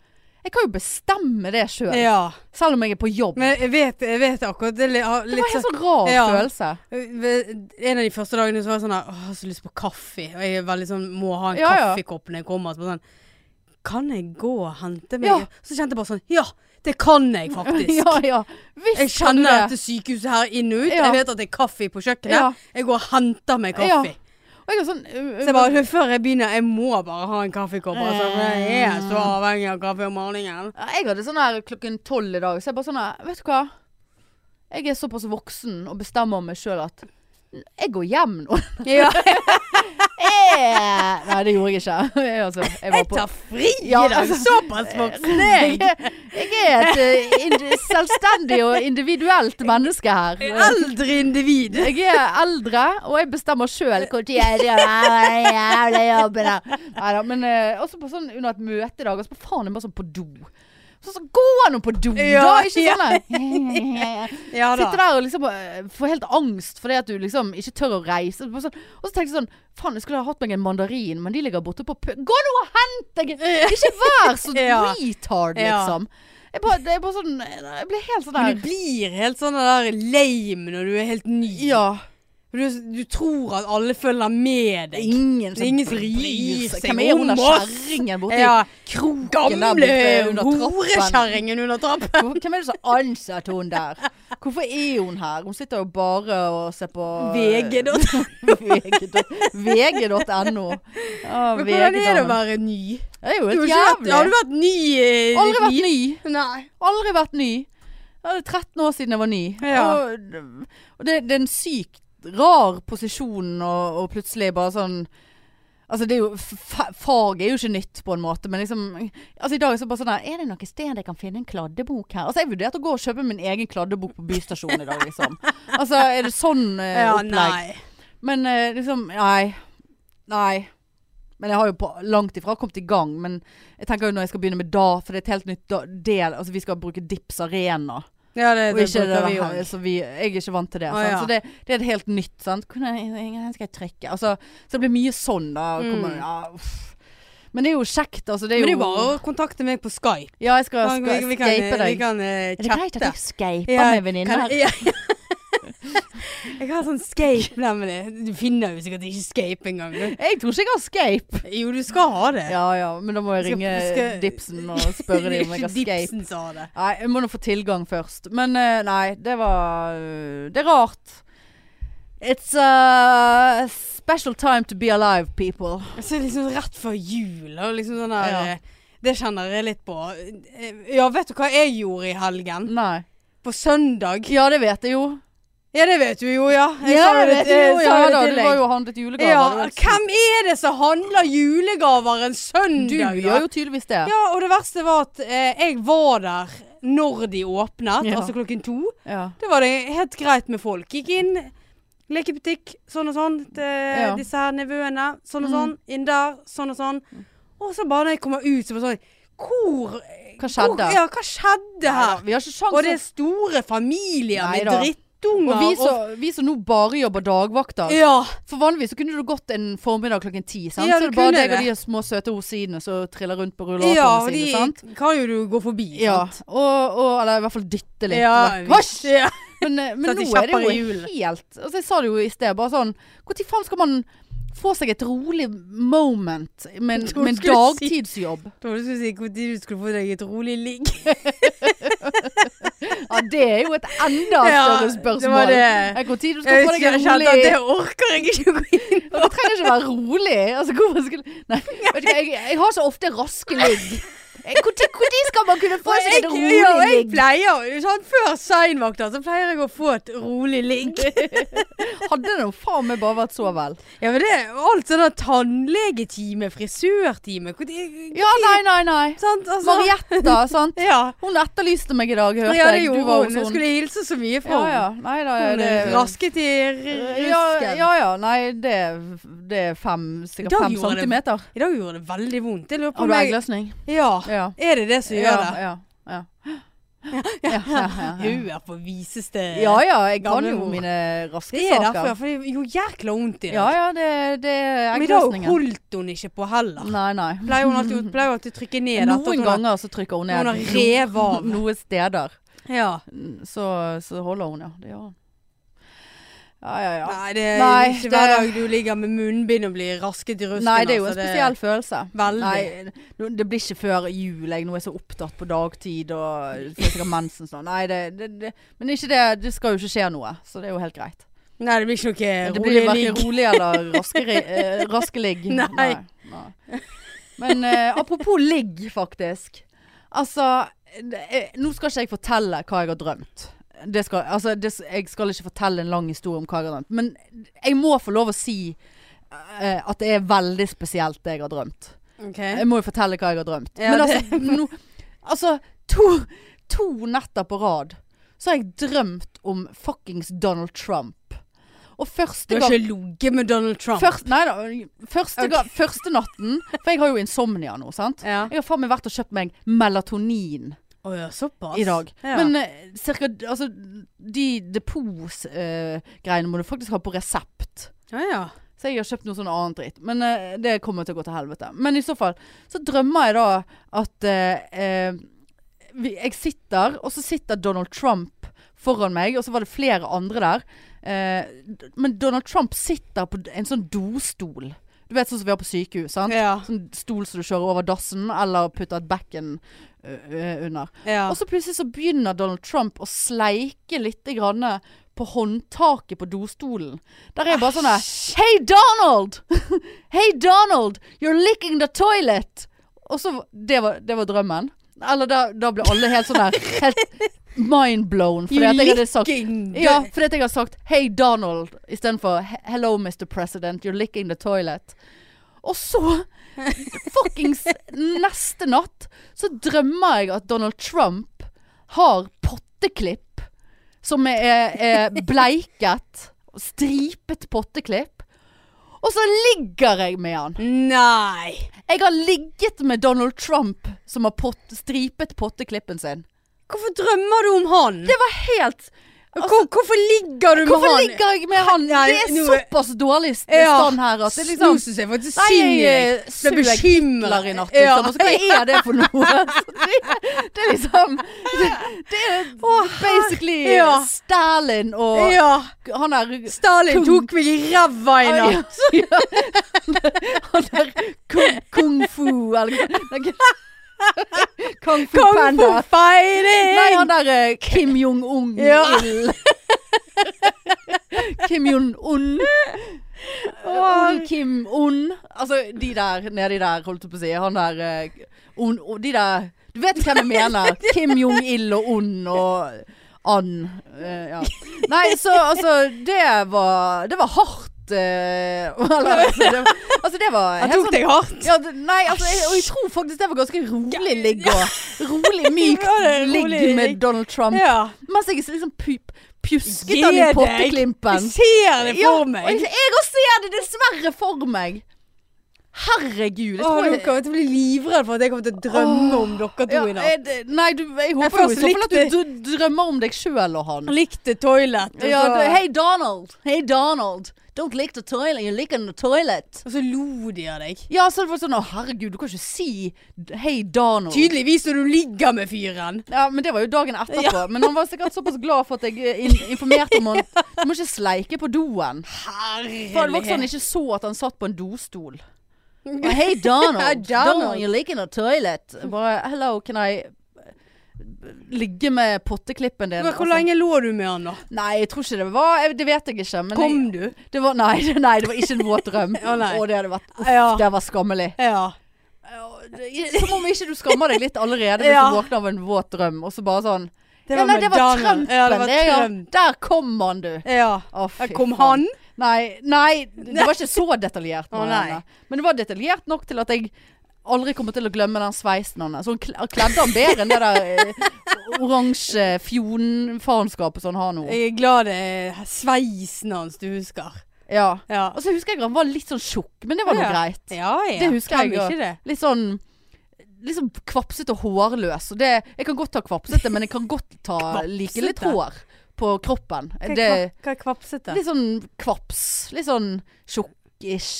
Speaker 1: Jeg kan jo bestemme det sjøl. Selv.
Speaker 2: ja.
Speaker 1: selv om jeg er på jobb.
Speaker 2: Men jeg vet, jeg vet akkurat det. er li- har
Speaker 1: det var
Speaker 2: litt
Speaker 1: en helt sånn rar
Speaker 2: Liksom. Ja.
Speaker 1: følelse.
Speaker 2: Eh, Ved- En av de første dagene så var jeg sånn her Åh, jeg har så lyst på kaffe. Og jeg er veldig sånn Må ha en
Speaker 1: Ja, ja.
Speaker 2: kaffekopp når jeg kommer. Så bare sånn Kan jeg gå og hente meg
Speaker 1: Ja.
Speaker 2: Så kjente jeg bare sånn Ja, det kan jeg faktisk.
Speaker 1: (laughs) ja, ja. Visst
Speaker 2: Jeg
Speaker 1: kan du
Speaker 2: kjenner
Speaker 1: det.
Speaker 2: dette sykehuset her inn og ut.
Speaker 1: Ja.
Speaker 2: Jeg vet at det er kaffe på kjøkkenet.
Speaker 1: Ja.
Speaker 2: Jeg går og henter meg kaffe.
Speaker 1: Ja. Og jeg er sånn øh,
Speaker 2: Så jeg bare Før jeg begynner, jeg må bare ha en kaffekopp. Altså, for jeg er så
Speaker 1: Eh.
Speaker 2: avhengig av kaffe om morgenen.
Speaker 1: Ja, Jeg hadde sånn her klokken tolv i dag, så jeg bare sånn her Vet du hva? Jeg er såpass voksen og bestemmer meg sjøl at jeg går hjem nå.
Speaker 2: (laughs) Ja,
Speaker 1: Eh, Nei, det gjorde (laughs) jeg ikke. (laughs) Jeg, altså, jeg var
Speaker 2: jeg
Speaker 1: på
Speaker 2: tar fri i
Speaker 1: Ja,
Speaker 2: dag!
Speaker 1: altså.
Speaker 2: Såpass voksen er jeg!
Speaker 1: (laughs) Jeg er et eh, indi- selvstendig og individuelt menneske
Speaker 2: Et
Speaker 1: her.
Speaker 2: Eldre individ.
Speaker 1: Jeg er eldre, og jeg bestemmer sjøl når jeg gjør den jævla jobben her. Neida, men eh, også på sånn under et møte i dag, og så på faen, jeg er bare sånn på do. Så, så gå nå på do, da!
Speaker 2: Ja,
Speaker 1: Ikke
Speaker 2: ja.
Speaker 1: sånn
Speaker 2: (laughs)
Speaker 1: her.
Speaker 2: Ja da.
Speaker 1: Sitter der og liksom eh, får helt angst fordi at du liksom ikke tør å reise. Bare sånn- Og så tenkte jeg sånn Faen, jeg skulle ha hatt meg en mandarin, men de ligger borte på pø... Gå nå og hent deg! Ikke vær så
Speaker 2: (laughs) Ja.
Speaker 1: retard,
Speaker 2: Ja.
Speaker 1: liksom. Jeg bare, det er bare sånn Jeg ble helt sånn
Speaker 2: Men
Speaker 1: der
Speaker 2: du blir helt sånn der lame når du er helt ny.
Speaker 1: Ja.
Speaker 2: For Du, du tror at alle følger med deg.
Speaker 1: Ingen
Speaker 2: som bryr seg
Speaker 1: Hvem er hun
Speaker 2: om
Speaker 1: der
Speaker 2: oss?
Speaker 1: kjerringen borti
Speaker 2: Ja,
Speaker 1: kroken der
Speaker 2: gamle
Speaker 1: borte under trappen?
Speaker 2: horekjerringen under trappen.
Speaker 1: Hvor- Hvem er det som har ansatt hun der? Hvorfor er hun her? Hun sitter jo bare og ser på eh,
Speaker 2: VG. da.
Speaker 1: VG.no. Ah,
Speaker 2: Men hvordan er det å
Speaker 1: VG-damen.
Speaker 2: være ny?
Speaker 1: Det er jo
Speaker 2: Du har,
Speaker 1: helt
Speaker 2: ikke vært,
Speaker 1: jævlig.
Speaker 2: har du vært ny? eh,
Speaker 1: Aldri vært
Speaker 2: liv?
Speaker 1: ny.
Speaker 2: Nei.
Speaker 1: Aldri vært ny. Det er 13 år siden jeg var ny.
Speaker 2: Ja.
Speaker 1: Og, og det, det er en sykt rar posisjon å og plutselig bare sånn Altså det er jo, fa- Faget er jo ikke nytt på en måte, men liksom Altså I dag er det bare sånn der Er det noe sted jeg kan finne en kladdebok her? Altså Jeg vurderte å gå og kjøpe min egen kladdebok på Bystasjonen i dag, liksom. Altså er det sånn eh,
Speaker 2: Ja,
Speaker 1: opplegg?
Speaker 2: nei.
Speaker 1: Men eh, liksom Nei. Nei. Men jeg har jo på langt ifra kommet i gang. Men jeg tenker jo når jeg skal begynne med da, for det er et helt nytt da, del Altså vi skal bruke Dips Arena.
Speaker 2: Ja, det,
Speaker 1: Og
Speaker 2: det
Speaker 1: ikke det
Speaker 2: bruker
Speaker 1: der,
Speaker 2: vi jo.
Speaker 1: her, så vi, jeg er ikke vant til det.
Speaker 2: Å,
Speaker 1: sant?
Speaker 2: ja.
Speaker 1: Så det, det er et helt nytt. Sant? Kunne jeg, her skal jeg trykke? Altså, så det blir mye sånn, da. og Kommer,
Speaker 2: Mm.
Speaker 1: ja, uff. Men det er jo kjekt, altså. Det er
Speaker 2: Men det er
Speaker 1: jo
Speaker 2: jo bare å kontakte meg på Skype.
Speaker 1: Ja, jeg skal,
Speaker 2: Da
Speaker 1: skal
Speaker 2: vi, vi kan,
Speaker 1: skype
Speaker 2: vi
Speaker 1: deg.
Speaker 2: kan eh,
Speaker 1: Er det greit at
Speaker 2: chatte.
Speaker 1: jeg skyper
Speaker 2: Ja,
Speaker 1: med venninner?
Speaker 2: kan- (laughs) ja. Jeg har sånn Skype, nemlig. Du finner jo sikkert ikke Skype engang. du.
Speaker 1: Jeg tror ikke jeg har Skype.
Speaker 2: Jo, du skal ha det.
Speaker 1: Ja ja, men da må jeg
Speaker 2: Skal-
Speaker 1: ringe
Speaker 2: skal-
Speaker 1: Dipsen og spørre dem om jeg har
Speaker 2: Ikke
Speaker 1: Skype.
Speaker 2: Dipsen sa det.
Speaker 1: Nei, jeg må nå få tilgang først. Men eh, nei, det var eh, Det er rart. It's a special time to be alive, people.
Speaker 2: Så er det liksom rett før jul og liksom sånn der
Speaker 1: Ja.
Speaker 2: eh, Det kjenner jeg litt på. Eh, Ja, vet du hva jeg gjorde i helgen?
Speaker 1: Nei.
Speaker 2: På søndag?
Speaker 1: Ja, det vet jeg jo.
Speaker 2: Ja, det vet du jo, ja. Jeg
Speaker 1: Ja,
Speaker 2: sa
Speaker 1: det
Speaker 2: det
Speaker 1: vet
Speaker 2: til-
Speaker 1: jeg jo.
Speaker 2: sa
Speaker 1: Ja,
Speaker 2: det
Speaker 1: da,
Speaker 2: til
Speaker 1: du
Speaker 2: deg.
Speaker 1: var jo og handlet julegaver. det var
Speaker 2: Ja,
Speaker 1: jo
Speaker 2: hvem er det som handler julegaver en
Speaker 1: Du
Speaker 2: søndag? da?
Speaker 1: gjør jo tydeligvis det.
Speaker 2: Ja, og det verste var at eh, jeg var der når de åpnet,
Speaker 1: Ja.
Speaker 2: altså klokken to.
Speaker 1: Ja.
Speaker 2: Det var det helt greit med folk. Gikk inn, lekebutikk, sånn og sånn. eh,
Speaker 1: Ja.
Speaker 2: Disse her nevøene, sånn og
Speaker 1: Mm.
Speaker 2: sånn. Inn der, sånn og sånn. Og så bare når jeg kommer ut, så bare sånn Hvor
Speaker 1: Hva skjedde?
Speaker 2: Hvor, ja, hva skjedde
Speaker 1: Neida,
Speaker 2: her?
Speaker 1: Vi har ikke
Speaker 2: Og det er
Speaker 1: sjans.
Speaker 2: store familier med
Speaker 1: Neida.
Speaker 2: drittunger.
Speaker 1: Og vi som- vi som nå bare jobber dagvakter.
Speaker 2: Ja.
Speaker 1: For vanligvis så kunne du gått en formiddag klokken ti. sant?
Speaker 2: Ja,
Speaker 1: så
Speaker 2: du
Speaker 1: det er bare
Speaker 2: kunne
Speaker 1: deg og
Speaker 2: det.
Speaker 1: de små søte rosinene som triller rundt på
Speaker 2: Ja,
Speaker 1: rullatorene
Speaker 2: og
Speaker 1: sine. sant?
Speaker 2: de kan jo du gå forbi.
Speaker 1: Ja,
Speaker 2: sant?
Speaker 1: og, og, eller i hvert fall dytte litt.
Speaker 2: Ja,
Speaker 1: vekk.
Speaker 2: visst.
Speaker 1: Hysj!
Speaker 2: Ja.
Speaker 1: Men, eh, men
Speaker 2: Sånn at de
Speaker 1: nå er det
Speaker 2: kjapper
Speaker 1: jo
Speaker 2: i hjulene.
Speaker 1: helt altså Jeg sa det jo i sted, bare sånn Når faen skal man få seg et rolig moment med,
Speaker 2: Jeg
Speaker 1: en-
Speaker 2: trodde
Speaker 1: med en
Speaker 2: du skulle si-
Speaker 1: dagtidsjobb?
Speaker 2: Jeg trodde du skulle si hvor tid du skulle få deg et rolig ligg.
Speaker 1: Ja, det er jo et enda
Speaker 2: (laughs) Ja,
Speaker 1: større
Speaker 2: Det var
Speaker 1: spørsmål.
Speaker 2: det.
Speaker 1: Eh, Hvor tid du skal
Speaker 2: Jeg,
Speaker 1: få deg
Speaker 2: husker, jeg
Speaker 1: en
Speaker 2: kjente at
Speaker 1: rolig
Speaker 2: det
Speaker 1: (laughs)
Speaker 2: orker jeg ikke å gå inn på.
Speaker 1: Det trenger ikke være rolig. Altså, hvorfor skulle Nei, vet du hva, jeg, jeg har så ofte raske ligg. Når skal man kunne få seg et
Speaker 2: Jeg-
Speaker 1: rolig
Speaker 2: ja, jeg
Speaker 1: ligg?
Speaker 2: pleier, sånn Før seinvakter så pleier jeg å få et rolig ligg.
Speaker 1: Hadde det nå faen meg bare vært så vel.
Speaker 2: Ja, men det er alt sånn der tannlegetime, frisørtime hvor tid-
Speaker 1: Ja, nei, nei, nei.
Speaker 2: Sant, altså.
Speaker 1: Marietta, sant.
Speaker 2: Ja.
Speaker 1: sånn. Hun etterlyste meg i dag, hørte
Speaker 2: ja, det
Speaker 1: jeg.
Speaker 2: gjorde
Speaker 1: Du var
Speaker 2: hun.
Speaker 1: hos
Speaker 2: Jeg
Speaker 1: henne.
Speaker 2: skulle hilse så mye fra
Speaker 1: Ja,
Speaker 2: henne.
Speaker 1: ja. Nei da.
Speaker 2: Hun
Speaker 1: Det,
Speaker 2: er rasket i r-
Speaker 1: ja,
Speaker 2: rusken.
Speaker 1: ja, ja. Nei, det, det er fem, sikkert
Speaker 2: Da
Speaker 1: fem
Speaker 2: gjorde det-
Speaker 1: centimeter.
Speaker 2: I dag gjorde det veldig vondt. Jeg lurer
Speaker 1: Har
Speaker 2: på om
Speaker 1: du
Speaker 2: jeg
Speaker 1: eggløsning?
Speaker 2: Ja.
Speaker 1: Ja.
Speaker 2: Er det det som gjør
Speaker 1: Ja,
Speaker 2: det?
Speaker 1: ja, ja. Ja, ja, ja.
Speaker 2: Hun er på viseste
Speaker 1: Ja ja, jeg kan
Speaker 2: Gamle
Speaker 1: jo
Speaker 2: mor.
Speaker 1: mine raske
Speaker 2: Det er derfor,
Speaker 1: saker.
Speaker 2: for det gjorde jækla vondt i dag.
Speaker 1: Ja ja, det, det er
Speaker 2: Men i dag
Speaker 1: eggløsningen.
Speaker 2: holdt hun ikke på heller.
Speaker 1: Nei, nei.
Speaker 2: Pleier hun alltid, pleier hun alltid å trykke ned dette, at
Speaker 1: Noen
Speaker 2: hun har-
Speaker 1: ganger så trykker hun
Speaker 2: Hun har
Speaker 1: ned.
Speaker 2: revet av.
Speaker 1: (laughs) Noen steder.
Speaker 2: Ja.
Speaker 1: Så, så holder hun, ja. Det gjør hun. Ja ja ja.
Speaker 2: Nei, det er
Speaker 1: Nei,
Speaker 2: ikke
Speaker 1: det-
Speaker 2: hver dag du ligger med munnbind og blir rasket i rusken.
Speaker 1: Nei, det er jo en
Speaker 2: altså,
Speaker 1: spesiell følelse.
Speaker 2: Veldig.
Speaker 1: Nei, nå- det blir ikke før jul. Jeg nå er så opptatt på dagtid og får sikkert mensen snart. Nei, det, det, det, men ikke det, det skal jo ikke skje noe, så det er jo helt greit.
Speaker 2: Nei, det blir ikke noe
Speaker 1: Det
Speaker 2: Eh, rolig
Speaker 1: blir verken
Speaker 2: ligg.
Speaker 1: rolig
Speaker 2: (laughs)
Speaker 1: eller raske, ri- eh, raske ligg.
Speaker 2: Nei.
Speaker 1: nei. Men eh, apropos ligg, faktisk. Altså, det, eh, nå skal ikke jeg fortelle hva jeg har drømt. Det skal, altså, det, jeg skal ikke fortelle en lang historie om hva jeg har drømt. Men jeg må få lov å si eh, at det er veldig spesielt det jeg har drømt.
Speaker 2: Ok.
Speaker 1: Jeg må jo fortelle hva jeg har drømt.
Speaker 2: Ja,
Speaker 1: Men
Speaker 2: det-
Speaker 1: altså, no, altså to, to netter på rad så har jeg drømt om fuckings Donald Trump. Og
Speaker 2: Du
Speaker 1: første
Speaker 2: har
Speaker 1: gang
Speaker 2: ikke ligget med Donald Trump.
Speaker 1: først, Nei da. Første, ga- første natten For jeg har jo insomnia nå, sant.
Speaker 2: Ja.
Speaker 1: Jeg har faen meg vært og kjøpt meg melatonin
Speaker 2: Å ja, såpass.
Speaker 1: i dag.
Speaker 2: Ja.
Speaker 1: Men eh, cirka Altså, de depot-greiene må du faktisk ha på resept.
Speaker 2: ja, ja.
Speaker 1: Så jeg har kjøpt noe sånn annet dritt. Men eh, det kommer til å gå til helvete. Men i så fall, så drømmer jeg da at eh, eh, vi, jeg sitter, og så sitter Donald Trump foran meg, og så var det flere andre der. Eh, d- men Donald Trump sitter på d- en sånn dostol. Du vet sånn som vi har på sykehus, sant?
Speaker 2: Ja.
Speaker 1: Sånn stol som du kjører over dassen, eller putter et bekken ø, ø, under.
Speaker 2: ja.
Speaker 1: Og så plutselig så begynner Donald Trump å sleike litt grann på håndtaket på dostolen. Der er bare sånn der Hei, Donald! (laughs) Hei, Donald! You're licking the toilet! Og så Det var, det var drømmen. Eller da, da ble alle helt sånn der Helt mindblown. Fordi at jeg hadde sagt
Speaker 2: Licking.
Speaker 1: ja, fordi at jeg hadde sagt 'Hei, Donald' istedenfor 'Hello, Mr. President, you're licking the toilet'. Og så, fuckings neste natt, så drømmer jeg at Donald Trump har potteklipp som er, er bleiket. Stripet potteklipp. Og så ligger jeg med han.
Speaker 2: Nei!
Speaker 1: Jeg har ligget med Donald Trump som har pott, stripet potteklippen sin.
Speaker 2: Hvorfor drømmer du om han?
Speaker 1: Det var helt
Speaker 2: Hvor, hvorfor ligger du med
Speaker 1: Hvorfor
Speaker 2: han?
Speaker 1: ligger jeg med han?
Speaker 2: Nei,
Speaker 1: Det er
Speaker 2: nå-
Speaker 1: såpass dårlig st-
Speaker 2: Ja.
Speaker 1: stand her at det er liksom
Speaker 2: Nå syns jeg faktisk
Speaker 1: Nei,
Speaker 2: synd i
Speaker 1: jeg
Speaker 2: deg.
Speaker 1: eh,
Speaker 2: Ble
Speaker 1: suger
Speaker 2: bekymret.
Speaker 1: Hitler i natt,
Speaker 2: Ja.
Speaker 1: liksom. Altså, hva er det for
Speaker 2: (laughs)
Speaker 1: noe? Det, det er liksom Det, det er basically
Speaker 2: Ja.
Speaker 1: Stalin og
Speaker 2: Ja.
Speaker 1: han der
Speaker 2: Stalin
Speaker 1: Kung.
Speaker 2: tok meg i ræva i
Speaker 1: Ja,
Speaker 2: natt.
Speaker 1: ja. Han der kung, kung fu eller nei, Kung fu
Speaker 2: Kung fu
Speaker 1: panda.
Speaker 2: fighting!
Speaker 1: Nei, han der eh, Kim Jong-un.
Speaker 2: Ja.
Speaker 1: Il. Kim Jong-un. Un Kim Un. Altså, de der nedi der, holdt jeg på å si. Han der eh, un, un, De der Du vet hvem jeg
Speaker 2: (laughs)
Speaker 1: mener. Kim Jong-il og Un og And. Eh, ja. Nei, så altså Det var Det var hardt. eh, eller, altså, det, altså, det var
Speaker 2: Han
Speaker 1: helt
Speaker 2: tok
Speaker 1: sånn-
Speaker 2: deg hardt.
Speaker 1: ja, det, nei, altså, jeg, og jeg tror faktisk det var ganske rolig ligg og rolig, mykt
Speaker 2: (laughs) Ja, det er rolig
Speaker 1: ligg med
Speaker 2: ligg.
Speaker 1: Donald Trump.
Speaker 2: Ja.
Speaker 1: Mens jeg liksom pu- pjusket
Speaker 2: Gi
Speaker 1: han i
Speaker 2: deg. Jeg
Speaker 1: potteklimpen.
Speaker 2: ser det
Speaker 1: Ja,
Speaker 2: for
Speaker 1: og jeg,
Speaker 2: meg.
Speaker 1: jeg også ser det dessverre for meg. Herregud. Jeg
Speaker 2: Åh,
Speaker 1: tror
Speaker 2: nå
Speaker 1: jeg,
Speaker 2: kommer jeg til å bli livredd for at jeg kommer til å drømme om dere to
Speaker 1: ja,
Speaker 2: i natt.
Speaker 1: er det- nei, du, jeg håper jo i så
Speaker 2: først
Speaker 1: fall at du
Speaker 2: likte-
Speaker 1: dr- drømmer om deg sjøl og han.
Speaker 2: Likte toilet. Og,
Speaker 1: Ja,
Speaker 2: så,
Speaker 1: du, Hei, Donald. Hei, Donald. Don't lick the toilet. You lick on the toilet.
Speaker 2: og så lo de av deg.
Speaker 1: Ja, så det var sånn Å, herregud, du kan ikke si Hei, Donald.
Speaker 2: Tydeligvis når du ligger med fyren.
Speaker 1: Ja, men det var jo dagen etterpå. Men han var sikkert såpass glad for at jeg eh, in informerte
Speaker 2: (laughs)
Speaker 1: om han. Du må ikke sleike på doen. For det var ikke sånn han
Speaker 2: Herlighet.
Speaker 1: ikke så at han satt på en dostol.
Speaker 2: (laughs)
Speaker 1: Og, Hei, Donald.
Speaker 2: Hei, Donald.
Speaker 1: Donald, you're leaking a toilet. Bare, hello, can I eh, ligge med potteklippen din?
Speaker 2: Men Hvor lenge
Speaker 1: altså.
Speaker 2: lå du med han da?
Speaker 1: Nei, jeg tror ikke det var jeg- Det vet jeg ikke. Men jeg,
Speaker 2: Kom du?
Speaker 1: det var, nei, (laughs) det- nei, det var ikke en våt (laughs) drøm.
Speaker 2: Å, nei.
Speaker 1: Å, det hadde vært Uff,
Speaker 2: Ja.
Speaker 1: det var skammelig.
Speaker 2: Ja.
Speaker 1: Som om ikke du skammer deg litt allerede hvis
Speaker 2: Ja.
Speaker 1: du våkner av en våt drøm, og så bare sånn
Speaker 2: Det
Speaker 1: ja, nei, det var
Speaker 2: Madonna.
Speaker 1: Trumpen.
Speaker 2: Ja, det var
Speaker 1: ja.
Speaker 2: Trump.
Speaker 1: Der kom han, du.
Speaker 2: Ja.
Speaker 1: Å, fy
Speaker 2: Der
Speaker 1: faen.
Speaker 2: kom han.
Speaker 1: Nei, nei, det var ikke (laughs) så detaljert.
Speaker 2: Å, nei.
Speaker 1: Marianne. Men det var detaljert nok til at jeg aldri kommer til å glemme den sveisen hans. Så han kl- kledde han bedre enn det der eh, oransje fjonfaenskapet som han har nå.
Speaker 2: Jeg er glad det er sveisen hans du husker.
Speaker 1: Ja.
Speaker 2: Ja.
Speaker 1: Og så husker jeg han var litt sånn tjukk, men det var nå
Speaker 2: Ja.
Speaker 1: greit.
Speaker 2: Ja, ja.
Speaker 1: Det husker
Speaker 2: Hvem
Speaker 1: jeg også.
Speaker 2: ikke det.
Speaker 1: Litt sånn Litt sånn kvapsete og hårløs. Og det, jeg kan godt ta kvapsete, men jeg kan godt ta like litt
Speaker 2: (laughs) Kvapsete?
Speaker 1: hår på kroppen.
Speaker 2: Hva er
Speaker 1: Det,
Speaker 2: kva- Hva er kvapsete?
Speaker 1: Litt sånn kvaps. Litt sånn tjukk-ish.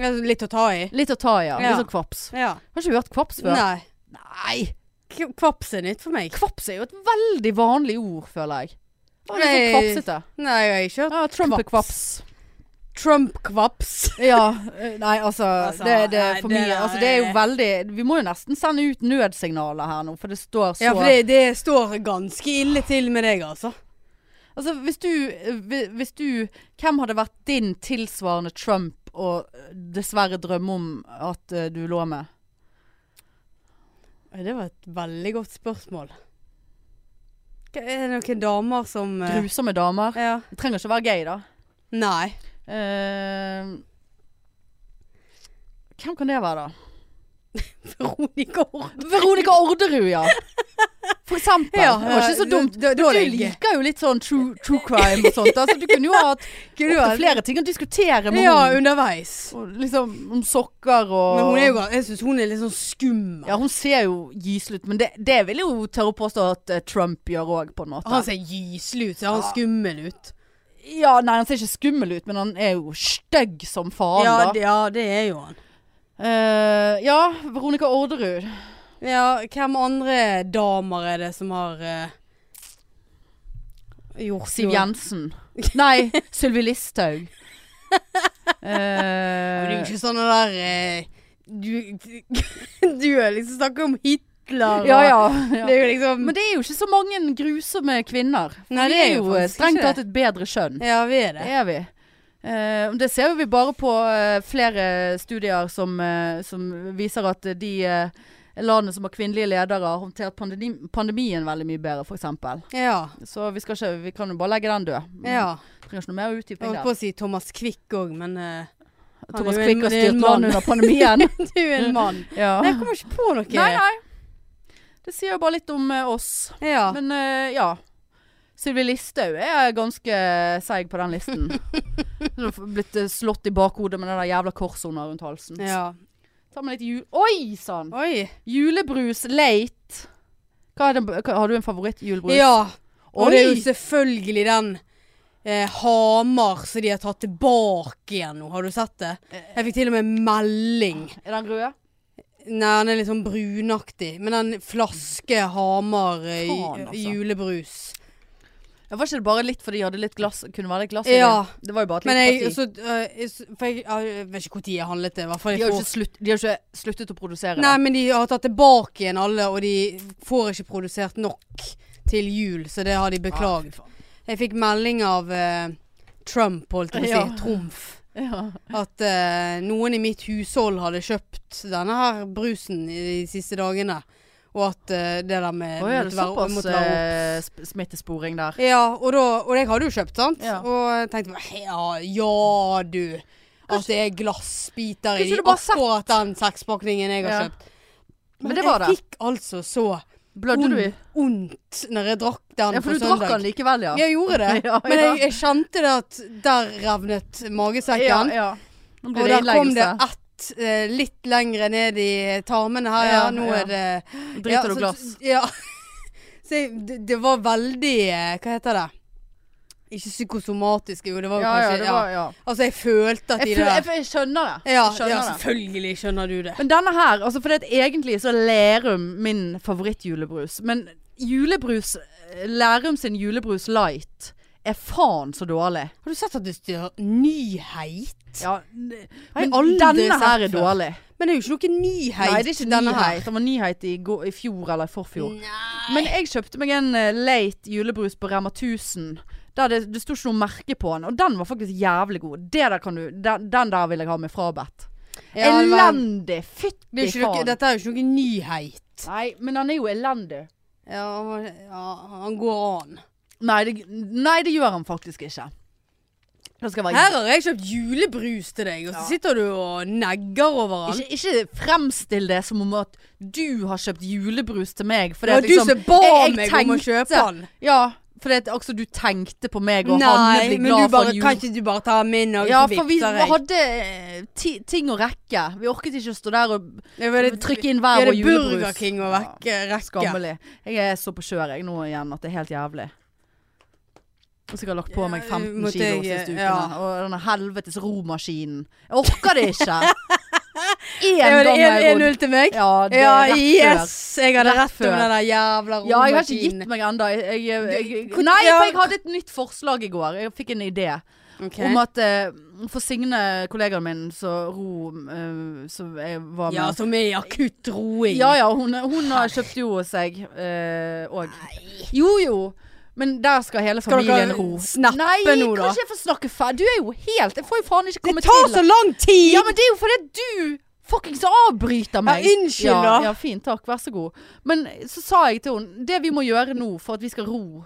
Speaker 2: Ja, Litt å ta i.
Speaker 1: Litt å ta i, ja.
Speaker 2: Ja.
Speaker 1: Litt sånn kvaps.
Speaker 2: Ja.
Speaker 1: Har ikke hørt kvaps før.
Speaker 2: Nei.
Speaker 1: Nei.
Speaker 2: K- Kvaps er nytt for meg.
Speaker 1: Kvaps er jo et veldig vanlig ord, føler jeg. Det er
Speaker 2: Nei.
Speaker 1: litt sånn kvapsete.
Speaker 2: Nei, jeg har ikke hørt
Speaker 1: Ja, Trump er kvaps.
Speaker 2: Kvaps. Trump-kvaps.
Speaker 1: Ja. eh, Nei, altså,
Speaker 2: Altså,
Speaker 1: det, det er
Speaker 2: nei,
Speaker 1: for
Speaker 2: det
Speaker 1: mye.
Speaker 2: der
Speaker 1: altså, det er jo
Speaker 2: er-
Speaker 1: veldig Vi må jo nesten sende ut nødsignaler her nå, for det står så
Speaker 2: Ja, for det, det står ganske ille til med deg, altså.
Speaker 1: Altså, hvis du, eh, hvi- hvis du Hvem hadde vært din tilsvarende Trump og eh, dessverre drømme om at eh, du lå med?
Speaker 2: Oi, Det var et veldig godt spørsmål. Hva- Er det noen damer som eh,
Speaker 1: Grusomme damer.
Speaker 2: Ja.
Speaker 1: Det trenger ikke å være gay, da.
Speaker 2: Nei.
Speaker 1: Eh, hvem kan det være, da?
Speaker 2: Veronica Ord.
Speaker 1: Veronica Orderud, ja. For eksempel. det var ikke så dumt.
Speaker 2: Da, da
Speaker 1: Du
Speaker 2: ligger
Speaker 1: liker jo litt sånn true, true crime og sånt. Altså, du kunne jo hatt
Speaker 2: Kunne du
Speaker 1: ofte
Speaker 2: ha-
Speaker 1: flere ting å diskutere med
Speaker 2: Ja,
Speaker 1: henne.
Speaker 2: underveis.
Speaker 1: Liksom om sokker og
Speaker 2: Men hun er jo, ga- jeg syns hun er litt sånn skummel.
Speaker 1: Ja, hun ser jo gyselig ut, men det, det vil jeg jo tørre å påstå at eh, Trump gjør òg, på en måte.
Speaker 2: Han ser gyselig ut. Ser han
Speaker 1: Ja.
Speaker 2: skummel ut?
Speaker 1: ja, nei, han ser ikke skummel ut, men han er jo stygg som faen,
Speaker 2: Ja,
Speaker 1: da.
Speaker 2: det, ja, det er jo han.
Speaker 1: Eh, ja, Veronica Orderud.
Speaker 2: Ja, hvem andre damer er det som har eh, gjort
Speaker 1: Siv
Speaker 2: noe?
Speaker 1: Jensen. Nei, Sylvi
Speaker 2: (laughs)
Speaker 1: Listhaug. Eh,
Speaker 2: Men Det er jo ikke sånn det der eh, Du, (laughs) du er liksom snakker om Hitler
Speaker 1: ja, ja,
Speaker 2: og
Speaker 1: ja.
Speaker 2: Det er jo liksom
Speaker 1: Men det er jo ikke så mange grusomme kvinner. For
Speaker 2: Nei,
Speaker 1: vi
Speaker 2: det er
Speaker 1: er
Speaker 2: jo
Speaker 1: jo eh,
Speaker 2: faktisk
Speaker 1: strengt
Speaker 2: ikke det.
Speaker 1: tatt et bedre skjønn.
Speaker 2: Ja, vi er
Speaker 1: Det
Speaker 2: det.
Speaker 1: er vi. Eh, og det ser jo vi bare på eh, flere studier som, eh, som viser at eh, de eh, landene som har kvinnelige ledere, har håndtert pandemi pandemien veldig mye bedre, f.eks.
Speaker 2: Ja.
Speaker 1: Så vi, skal ikke, vi kan jo bare legge den død. Mm.
Speaker 2: ja.
Speaker 1: Trenger ikke noe mer
Speaker 2: Jeg
Speaker 1: utdyping
Speaker 2: holdt
Speaker 1: der.
Speaker 2: på å si Thomas Quick òg, men eh, Han
Speaker 1: Thomas
Speaker 2: er jo en-
Speaker 1: Quick har
Speaker 2: det er en
Speaker 1: styrt
Speaker 2: mann.
Speaker 1: landet under
Speaker 2: (laughs)
Speaker 1: pandemien.
Speaker 2: Du er
Speaker 1: (laughs)
Speaker 2: en mann.
Speaker 1: ja.
Speaker 2: Nei, jeg kommer ikke på noe.
Speaker 1: Nei, nei. Det sier jo bare litt om eh, oss.
Speaker 2: Ja.
Speaker 1: Men eh, ja. Sylvi Listhaug er ganske seig på den
Speaker 2: (laughs)
Speaker 1: listen. Hun har blitt eh, slått i bakhodet med det der jævla korset hun har rundt halsen.
Speaker 2: ja.
Speaker 1: Ta med litt jul... Oi sann!
Speaker 2: Oi.
Speaker 1: Julebrus late. Hva er den, hva, har du en favorittjulebrus?
Speaker 2: Ja. Og
Speaker 1: Oi!
Speaker 2: det er jo selvfølgelig den eh, Hamar som de har tatt tilbake igjen nå. Har du sett det?
Speaker 1: Eh.
Speaker 2: Jeg fikk til og med en melding.
Speaker 1: Er den rød?
Speaker 2: Nei, den er litt sånn brunaktig. Men den flaske Hamar eh,
Speaker 1: Faen, altså.
Speaker 2: julebrus.
Speaker 1: Ja, var ikke det bare litt fordi de hadde litt glass? Kunne være litt glass i
Speaker 2: Ja.
Speaker 1: den? Det var jo bare et
Speaker 2: Men
Speaker 1: lite
Speaker 2: jeg,
Speaker 1: parti.
Speaker 2: så, eh, jeg s- for jeg, jeg vet ikke når jeg handlet det. i hvert fall.
Speaker 1: De
Speaker 2: Jeg
Speaker 1: har jo
Speaker 2: får-
Speaker 1: ikke, slutt, de har ikke sluttet å produsere
Speaker 2: Nei,
Speaker 1: det.
Speaker 2: men de har tatt tilbake igjen alle, og de får ikke produsert nok til jul, så det har
Speaker 1: Ah.
Speaker 2: de beklaget. Jeg fikk melding av eh, Trump, holdt jeg på å
Speaker 1: Ja.
Speaker 2: si. Trumf.
Speaker 1: Ja.
Speaker 2: At eh, noen i mitt hushold hadde kjøpt denne her brusen i de siste dagene. Og at eh, det der med
Speaker 1: Å ja, det er såpass
Speaker 2: måtte være opp.
Speaker 1: eh, sp- smittesporing der.
Speaker 2: Ja, og, da, og jeg hadde jo kjøpt, sant?
Speaker 1: Ja.
Speaker 2: Og jeg tenkte bare, ja, ja du. At det er glassbiter
Speaker 1: Kanskje
Speaker 2: i de-
Speaker 1: du bare sett-
Speaker 2: akkurat den sekspakningen jeg har
Speaker 1: Ja.
Speaker 2: kjøpt.
Speaker 1: Men det var det.
Speaker 2: jeg fikk altså så
Speaker 1: Blødde du i?
Speaker 2: ondt når jeg drakk den
Speaker 1: Ja, for
Speaker 2: på
Speaker 1: du drakk
Speaker 2: søndag.
Speaker 1: den likevel, ja.
Speaker 2: Jeg gjorde
Speaker 1: (laughs)
Speaker 2: det.
Speaker 1: Ja,
Speaker 2: Men
Speaker 1: ja.
Speaker 2: jeg, jeg kjente det at der revnet magesekken.
Speaker 1: ja, ja. Nå
Speaker 2: Og
Speaker 1: blir det
Speaker 2: der kom det
Speaker 1: innleggelse.
Speaker 2: ett eh, litt lengre ned i tarmene her, ja.
Speaker 1: Ja,
Speaker 2: Nå
Speaker 1: ja.
Speaker 2: er det
Speaker 1: Driter
Speaker 2: ja,
Speaker 1: du
Speaker 2: så-
Speaker 1: glass?
Speaker 2: (laughs) Ja. Så jeg, det, det var veldig eh, Hva heter det? Ikke psykosomatisk, jo. Det var jo
Speaker 1: Ja, ja,
Speaker 2: kanskje
Speaker 1: det
Speaker 2: ja.
Speaker 1: var, ja.
Speaker 2: Altså, jeg følte at
Speaker 1: Jeg,
Speaker 2: de
Speaker 1: føl-
Speaker 2: der
Speaker 1: jeg, jeg skjønner det.
Speaker 2: ja,
Speaker 1: jeg skjønner
Speaker 2: ja,
Speaker 1: det.
Speaker 2: selvfølgelig skjønner du det.
Speaker 1: Men denne her, altså for det at egentlig så er Lerum min favorittjulebrus. Men julebrus, Lerum sin julebrus light er faen så dårlig.
Speaker 2: Har du sett at det står nyheit?
Speaker 1: Ja,
Speaker 2: jeg
Speaker 1: men
Speaker 2: aldri
Speaker 1: denne
Speaker 2: sett
Speaker 1: her er
Speaker 2: før.
Speaker 1: dårlig.
Speaker 2: Men det er jo ikke noe nyhet.
Speaker 1: Nei, det er ikke
Speaker 2: denne her.
Speaker 1: nyhet. Den var nyhet i, går- i fjor eller forfjor.
Speaker 2: Nei.
Speaker 1: Men jeg kjøpte meg en eh, late julebrus på Rema 1000. Der det, det sto ikke noe merke på den, og den var faktisk jævlig god. Det der kan du, den, den der vil jeg ha med frabedt.
Speaker 2: Ja, men-
Speaker 1: elendig!
Speaker 2: Det er
Speaker 1: Fytti
Speaker 2: ikke noe,
Speaker 1: faen.
Speaker 2: dette er jo ikke noe nyhet.
Speaker 1: Nei, men den er jo elendig.
Speaker 2: Ja, han- ja, han går an.
Speaker 1: Nei det, nei, det gjør han faktisk ikke. Da skal jeg være
Speaker 2: Her har jeg kjøpt julebrus til deg, og så
Speaker 1: Ja.
Speaker 2: sitter du og negger over han.
Speaker 1: ikke, ikke fremstill det som om at du har kjøpt julebrus til meg. For
Speaker 2: Det var du som ba meg om å kjøpe den.
Speaker 1: Ja, fordi at altså, du tenkte på meg og Hanne
Speaker 2: Nei,
Speaker 1: blir
Speaker 2: men du
Speaker 1: glad for
Speaker 2: bare,
Speaker 1: en
Speaker 2: kan
Speaker 1: jul.
Speaker 2: ikke du bare ta min og
Speaker 1: Ja,
Speaker 2: så
Speaker 1: for vi
Speaker 2: vipser jeg?
Speaker 1: hadde eh, ti, ting å rekke. Vi orket ikke å stå der og
Speaker 2: Det var det-
Speaker 1: trykke inn
Speaker 2: vi
Speaker 1: hver vår
Speaker 2: hadde
Speaker 1: julebrus.
Speaker 2: Burger King og
Speaker 1: Ja,
Speaker 2: vekke, rekke.
Speaker 1: Skammelig. Jeg er så på kjør jeg nå igjen at det er helt jævlig. Og sikkert lagt på meg
Speaker 2: Ja,
Speaker 1: 15
Speaker 2: måtte
Speaker 1: kilo
Speaker 2: jeg-
Speaker 1: siste ukene.
Speaker 2: ja.
Speaker 1: Og denne helvetes romaskinen. Jeg orker det
Speaker 2: (laughs)
Speaker 1: ikke! Én
Speaker 2: Det var
Speaker 1: gang
Speaker 2: det
Speaker 1: har jeg rodd.
Speaker 2: 1-0 til meg?
Speaker 1: Ja, det er
Speaker 2: Ja,
Speaker 1: rett før.
Speaker 2: yes! Jeg hadde
Speaker 1: Rett
Speaker 2: rett om
Speaker 1: før.
Speaker 2: den der jævla romaskinen.
Speaker 1: Ja, jeg har ikke gitt meg ennå. Jeg, jeg, jeg,
Speaker 2: Du-
Speaker 1: nei,
Speaker 2: ja.
Speaker 1: for jeg hadde et nytt forslag i går. Jeg fikk en idé
Speaker 2: Ok.
Speaker 1: om at eh, For Signe, kollegaen min, så ro eh, Som jeg var med
Speaker 2: Ja, som er i akutt roing.
Speaker 1: Ja ja, hun, hun har kjøpt jo seg òg. jo jo. Men der skal hele
Speaker 2: Skal dere
Speaker 1: familien ro.
Speaker 2: snappe
Speaker 1: Nei,
Speaker 2: nå, da?
Speaker 1: kan ikke jeg få snakke ferdig? Du er jo helt Jeg får jo faen ikke
Speaker 2: Det
Speaker 1: komme
Speaker 2: tar
Speaker 1: til.
Speaker 2: så lang tid!
Speaker 1: Ja, men det er jo fordi du fuckings avbryter meg.
Speaker 2: Ja, unnskyld
Speaker 1: ja,
Speaker 2: da.
Speaker 1: Ja, fint. Takk. Vær så god. Men så sa jeg til henne Det vi må gjøre nå for at vi skal ro,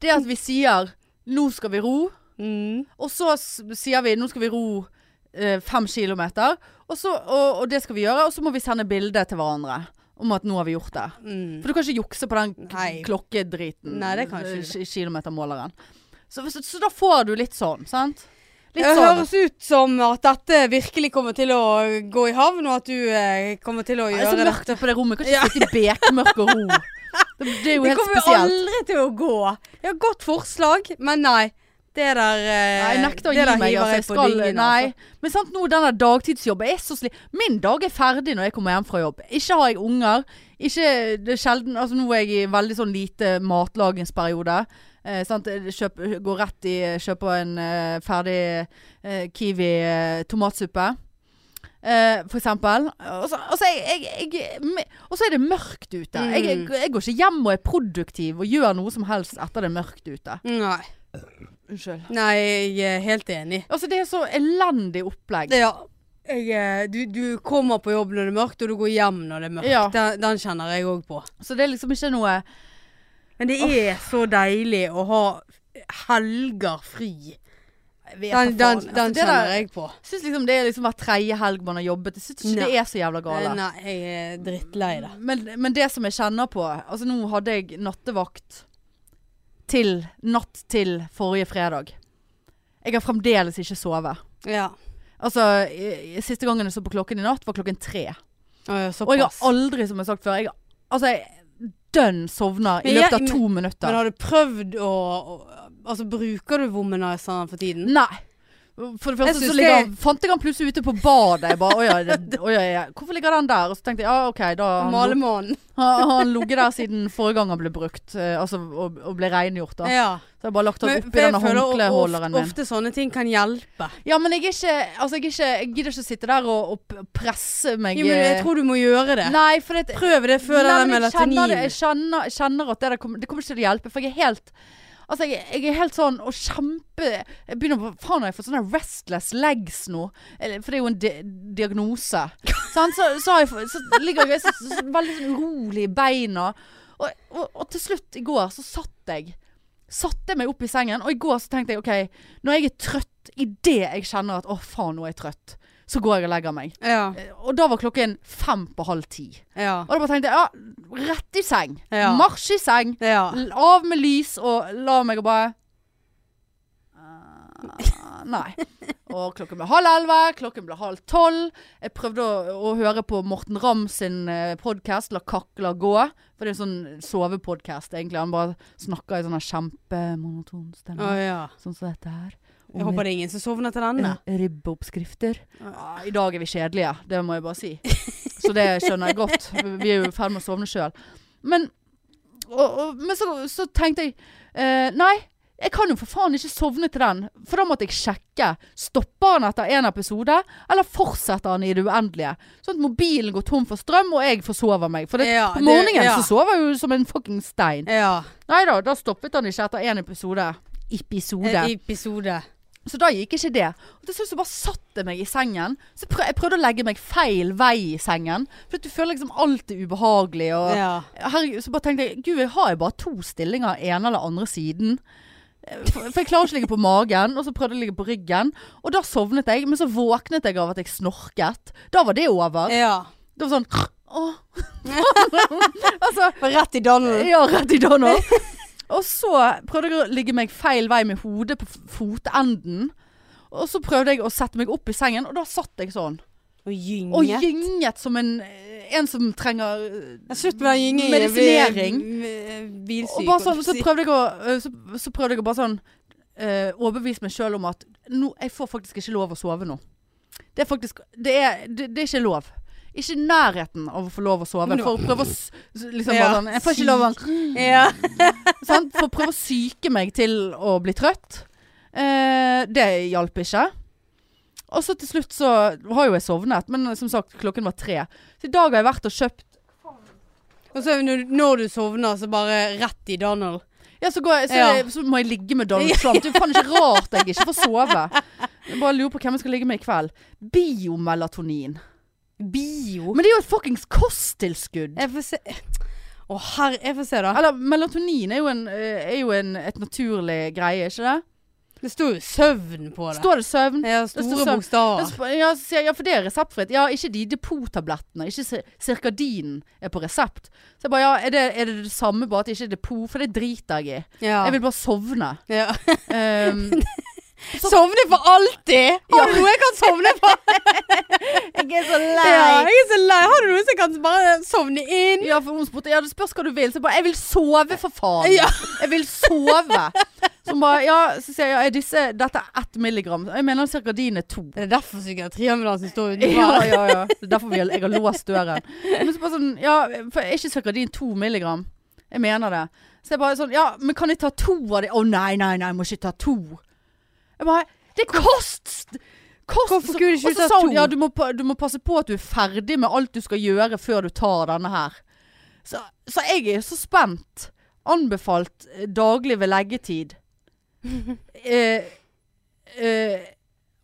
Speaker 1: det er at vi sier 'nå skal vi ro'.
Speaker 2: Mm.
Speaker 1: Og så s- sier vi nå skal vi ro eh, fem kilometer, og, så, og, og det skal vi gjøre. Og så må vi sende bilde til hverandre om at nå har vi gjort det.
Speaker 2: Mm.
Speaker 1: For du kan ikke jukse på den k-
Speaker 2: Nei.
Speaker 1: klokkedriten.
Speaker 2: Nei, det kan ikke
Speaker 1: eh,
Speaker 2: du.
Speaker 1: ki- Kilometermåleren. Så, så, så da får du litt sånn, sant? Litt
Speaker 2: Det
Speaker 1: sånn.
Speaker 2: høres ut som at dette virkelig kommer til å gå i havn, og at du eh, kommer til å
Speaker 1: Det
Speaker 2: gjøre
Speaker 1: er så
Speaker 2: det.
Speaker 1: mørkt på det rommet. Jeg kan ikke sitte i bekmørk
Speaker 2: (laughs)
Speaker 1: og ro. Det, det er jo
Speaker 2: Det
Speaker 1: helt
Speaker 2: kommer jo
Speaker 1: spesielt.
Speaker 2: aldri til å gå. Ja, godt forslag, men nei. Det der eh,
Speaker 1: Nei, jeg nekter å
Speaker 2: det
Speaker 1: gi
Speaker 2: der
Speaker 1: meg.
Speaker 2: hiver
Speaker 1: Altså,
Speaker 2: jeg
Speaker 1: jeg
Speaker 2: på
Speaker 1: skal,
Speaker 2: dyngen,
Speaker 1: nei.
Speaker 2: altså.
Speaker 1: Men sant, nå denne dagtidsjobben er så sli... Min dag er ferdig når jeg kommer hjem fra jobb. Ikke har jeg unger. Ikke, det er sjelden Altså, nå er jeg i veldig sånn lite matlagingsperiode. Eh, sant? Jeg Kjøp, går rett i Kjøper en eh, ferdig eh, kiwi-tomatsuppe. Eh, for eksempel. Og så, og så er jeg, jeg, jeg, me- og så er det mørkt ute. Jeg, jeg,
Speaker 2: Mm.
Speaker 1: jeg går ikke hjem og er produktiv og gjør noe som helst etter det er mørkt ute.
Speaker 2: altså. Nei.
Speaker 1: Unnskyld.
Speaker 2: nei, jeg er helt enig.
Speaker 1: Altså, det er så elendig opplegg.
Speaker 2: Det, ja. jeg, eh, du, du kommer på jobb når det er mørkt, og du går hjem når det er mørkt.
Speaker 1: Ja.
Speaker 2: Den, den kjenner jeg òg på.
Speaker 1: Så det er liksom ikke noe
Speaker 2: Men det er så deilig å ha helger fri.
Speaker 1: Jeg vet da faen,
Speaker 2: Den, den,
Speaker 1: altså,
Speaker 2: den
Speaker 1: det der-
Speaker 2: kjenner jeg på.
Speaker 1: Jeg syns liksom det er liksom hver tredje helg man har jobbet. Jeg syns ikke
Speaker 2: Nei.
Speaker 1: det er så jævla
Speaker 2: Eh,
Speaker 1: gale.
Speaker 2: Nei, jeg er drittlei det.
Speaker 1: Men, men det som jeg kjenner på Altså nå hadde jeg nattevakt til natt til forrige fredag. Jeg har fremdeles ikke sovet.
Speaker 2: Ja.
Speaker 1: Altså, i- i- siste gangen jeg så på klokken i natt, var klokken tre.
Speaker 2: Å, ja,
Speaker 1: Og jeg har
Speaker 2: Såpass.
Speaker 1: aldri, som jeg har sagt før, jeg, altså, jeg dønn sovner i
Speaker 2: Men jeg-
Speaker 1: løpet av to minutter.
Speaker 2: Men har du prøvd å å- Altså, bruker du womanizeren for tiden?
Speaker 1: Nei. For det
Speaker 2: Jeg
Speaker 1: første
Speaker 2: synes
Speaker 1: så ligger,
Speaker 2: det-
Speaker 1: han- fant jeg han plutselig ute på badet. Jeg bare, «Åja, det-
Speaker 2: (laughs)
Speaker 1: åja, ja. Hvorfor ligger den der? Og så tenkte jeg ja, OK, da har han,
Speaker 2: Malemann.
Speaker 1: har han ligget der siden forrige gang han ble brukt. eh, altså og, og ble rengjort, da.
Speaker 2: Ja.
Speaker 1: Så jeg har bare lagt han
Speaker 2: Men-
Speaker 1: oppi
Speaker 2: for jeg
Speaker 1: denne
Speaker 2: føler
Speaker 1: håndkleholderen
Speaker 2: ofte,
Speaker 1: min.
Speaker 2: ofte sånne ting kan hjelpe.
Speaker 1: Ja, men jeg er ikke Altså, jeg, er ikke, jeg gidder ikke å sitte der og, og p- presse meg
Speaker 2: Jo, men jeg
Speaker 1: eh,
Speaker 2: tror du må gjøre det.
Speaker 1: Nei, for det
Speaker 2: Prøv det før
Speaker 1: Nei,
Speaker 2: den
Speaker 1: men jeg
Speaker 2: melatonin.
Speaker 1: kjenner det. Jeg kjenner, jeg kjenner at det, der kommer, det kommer ikke til å hjelpe. For jeg er helt Altså, jeg, jeg er helt sånn og kjempe Jeg begynner på Faen, har jeg fått sånne restless legs nå? Eller, For det er jo en di
Speaker 2: (laughs)
Speaker 1: diagnose. Sant? så, så, har jeg, fått- så ligger jeg så, så, så, veldig sånn urolig i beina. Og, og, og til slutt i går så satt jeg Satte jeg meg opp i sengen, og i går så tenkte jeg OK, når jeg er trøtt idet jeg kjenner at å, faen, nå er jeg trøtt, så går jeg og legger meg.
Speaker 2: Ja.
Speaker 1: Og da var klokken fem på halv ti.
Speaker 2: Ja.
Speaker 1: Og da bare tenkte jeg, ja, rett i seng.
Speaker 2: Ja.
Speaker 1: Marsj i seng.
Speaker 2: ja.
Speaker 1: L- Av med lys og la meg og bare eh, Nei. Og klokken ble halv elleve, klokken ble halv tolv. Jeg prøvde å, å høre på Morten Ramm sin podkast, 'La kakla gå'. For det er en sånn sovepodkast, egentlig. Han bare snakker i sånn kjempemonoton
Speaker 2: Å
Speaker 1: stemme.
Speaker 2: ja.
Speaker 1: Sånn som dette her.
Speaker 2: Jeg håper det er ingen som sovner til denne.
Speaker 1: Eh, Ribbeoppskrifter. Ja, Ah, I dag er vi kjedelige, det må jeg bare si. Så det skjønner jeg godt. Vi er jo i ferd med å sovne sjøl. Men, og, og, men så, så tenkte jeg eh, Nei, jeg kan jo for faen ikke sovne til den. For da måtte jeg sjekke. Stopper han etter én episode, eller fortsetter han i det uendelige? Sånn at mobilen går tom for strøm, og jeg forsover meg. For det,
Speaker 2: Ja,
Speaker 1: på
Speaker 2: det-
Speaker 1: morgenen
Speaker 2: ja.
Speaker 1: så sover jeg jo som en fucking stein.
Speaker 2: Ja. eh,
Speaker 1: Nei da, da stoppet han ikke etter én episode. Episode.
Speaker 2: Eh, Episode.
Speaker 1: Så da gikk ikke det. Og til slutt så bare satt jeg meg i sengen. Så prøv, jeg prøvde å legge meg feil vei i sengen. For at du føler liksom alt er ubehagelig. Og
Speaker 2: Ja.
Speaker 1: herregud, så bare tenkte jeg Gud, jeg har jo bare to stillinger, ene eller andre siden. For, for jeg klarer ikke å ligge på magen, og så prøvde jeg å ligge på ryggen. Og da sovnet jeg, men så våknet jeg av at jeg snorket. Da var det over.
Speaker 2: ja.
Speaker 1: Det var sånn Åh. (laughs) altså,
Speaker 2: Var Rett i Donald.
Speaker 1: ja, rett i Donald. Og så prøvde jeg å ligge meg feil vei med hodet på f- fotenden. Og så prøvde jeg å sette meg opp i sengen, og da satt jeg sånn.
Speaker 2: Og gynge.
Speaker 1: Og gynget som en, eh, en som trenger
Speaker 2: Ja, Slutt med den gyngingen.
Speaker 1: Medisinering.
Speaker 2: Bilsyk.
Speaker 1: Og bare sånn, så prøvde jeg å, så, så prøvde jeg å bare sånn eh, overbevise meg sjøl om at nå, jeg får faktisk ikke lov å sove nå. Det er faktisk Det er, det, det er ikke lov. Ikke i nærheten av å få lov å sove.
Speaker 2: Nå.
Speaker 1: For å prøve å s- liksom
Speaker 2: Ja,
Speaker 1: bare sånn Jeg får ikke lov å
Speaker 2: Ja.
Speaker 1: sant? For å prøve å syke meg til å bli trøtt. Eh, det hjalp ikke. Og så til slutt så har jo jeg sovnet, men som sagt, klokken var tre. Så i dag har jeg vært og kjøpt
Speaker 2: Og så når, når du sovner, så bare rett i Donald.
Speaker 1: Ja, så, går jeg, så,
Speaker 2: Ja.
Speaker 1: så må jeg ligge med Donald Trump. Det er faen ikke rart jeg ikke får sove. Jeg bare lurer på hvem jeg skal ligge med i kveld. Biomelatonin.
Speaker 2: Bio.
Speaker 1: Men det er jo et fuckings kosttilskudd.
Speaker 2: Jeg får se Å, herre, jeg får se, da.
Speaker 1: Eller melatonin er jo, en, eh, er jo en, et naturlig greie, ikke det?
Speaker 2: Det står jo søvn på det.
Speaker 1: Står det søvn?
Speaker 2: Ja,
Speaker 1: det
Speaker 2: store
Speaker 1: står søvn. Ja,
Speaker 2: bokstaver.
Speaker 1: så spør- ja, så sier jeg, ja, for det er reseptfritt. Ja, ikke de depotablettene. Ikke cir- Cirkadinen er på resept. Så jeg bare, ja, er det er det, det samme, bare at det ikke er depot? For det driter jeg i.
Speaker 2: Ja.
Speaker 1: Jeg vil bare (laughs) sovne.
Speaker 2: ja.
Speaker 1: Um,
Speaker 2: Sovne for alltid! Har du noe jeg kan sovne for?
Speaker 1: (laughs) jeg er så
Speaker 2: Ja, jeg er så lei. Har du noe som kan bare sovne inn?
Speaker 1: Ja, for hun spurte, ja, det spørs hva du vil. Så jeg bare, jeg vil sove, for faen.
Speaker 2: Ja.
Speaker 1: Jeg vil sove. Så hun bare, ja, så sier jeg, ja, er disse, dette er ett milligram. Jeg mener cirkadin er to.
Speaker 2: Det er derfor psykiatriambulansen står
Speaker 1: Ja,
Speaker 2: utenfor.
Speaker 1: ja, ja. Det er derfor vi har, jeg har låst døren. Men så bare sånn, ja, for er ikke Sakradin to milligram? Jeg mener det. Så jeg bare sånn, ja, men kan jeg ta to av de? Å nei, nei, nei, jeg må ikke ta to. Jeg bare, det er kost! Kost!
Speaker 2: Hvorfor kunne du ikke
Speaker 1: Og så
Speaker 2: ta
Speaker 1: sa hun,
Speaker 2: to?
Speaker 1: Ja, du må, pa- du må passe på at du er ferdig med alt du skal gjøre før du tar denne her. Så, så jeg er så spent. Anbefalt eh, daglig ved leggetid. Eh, eh,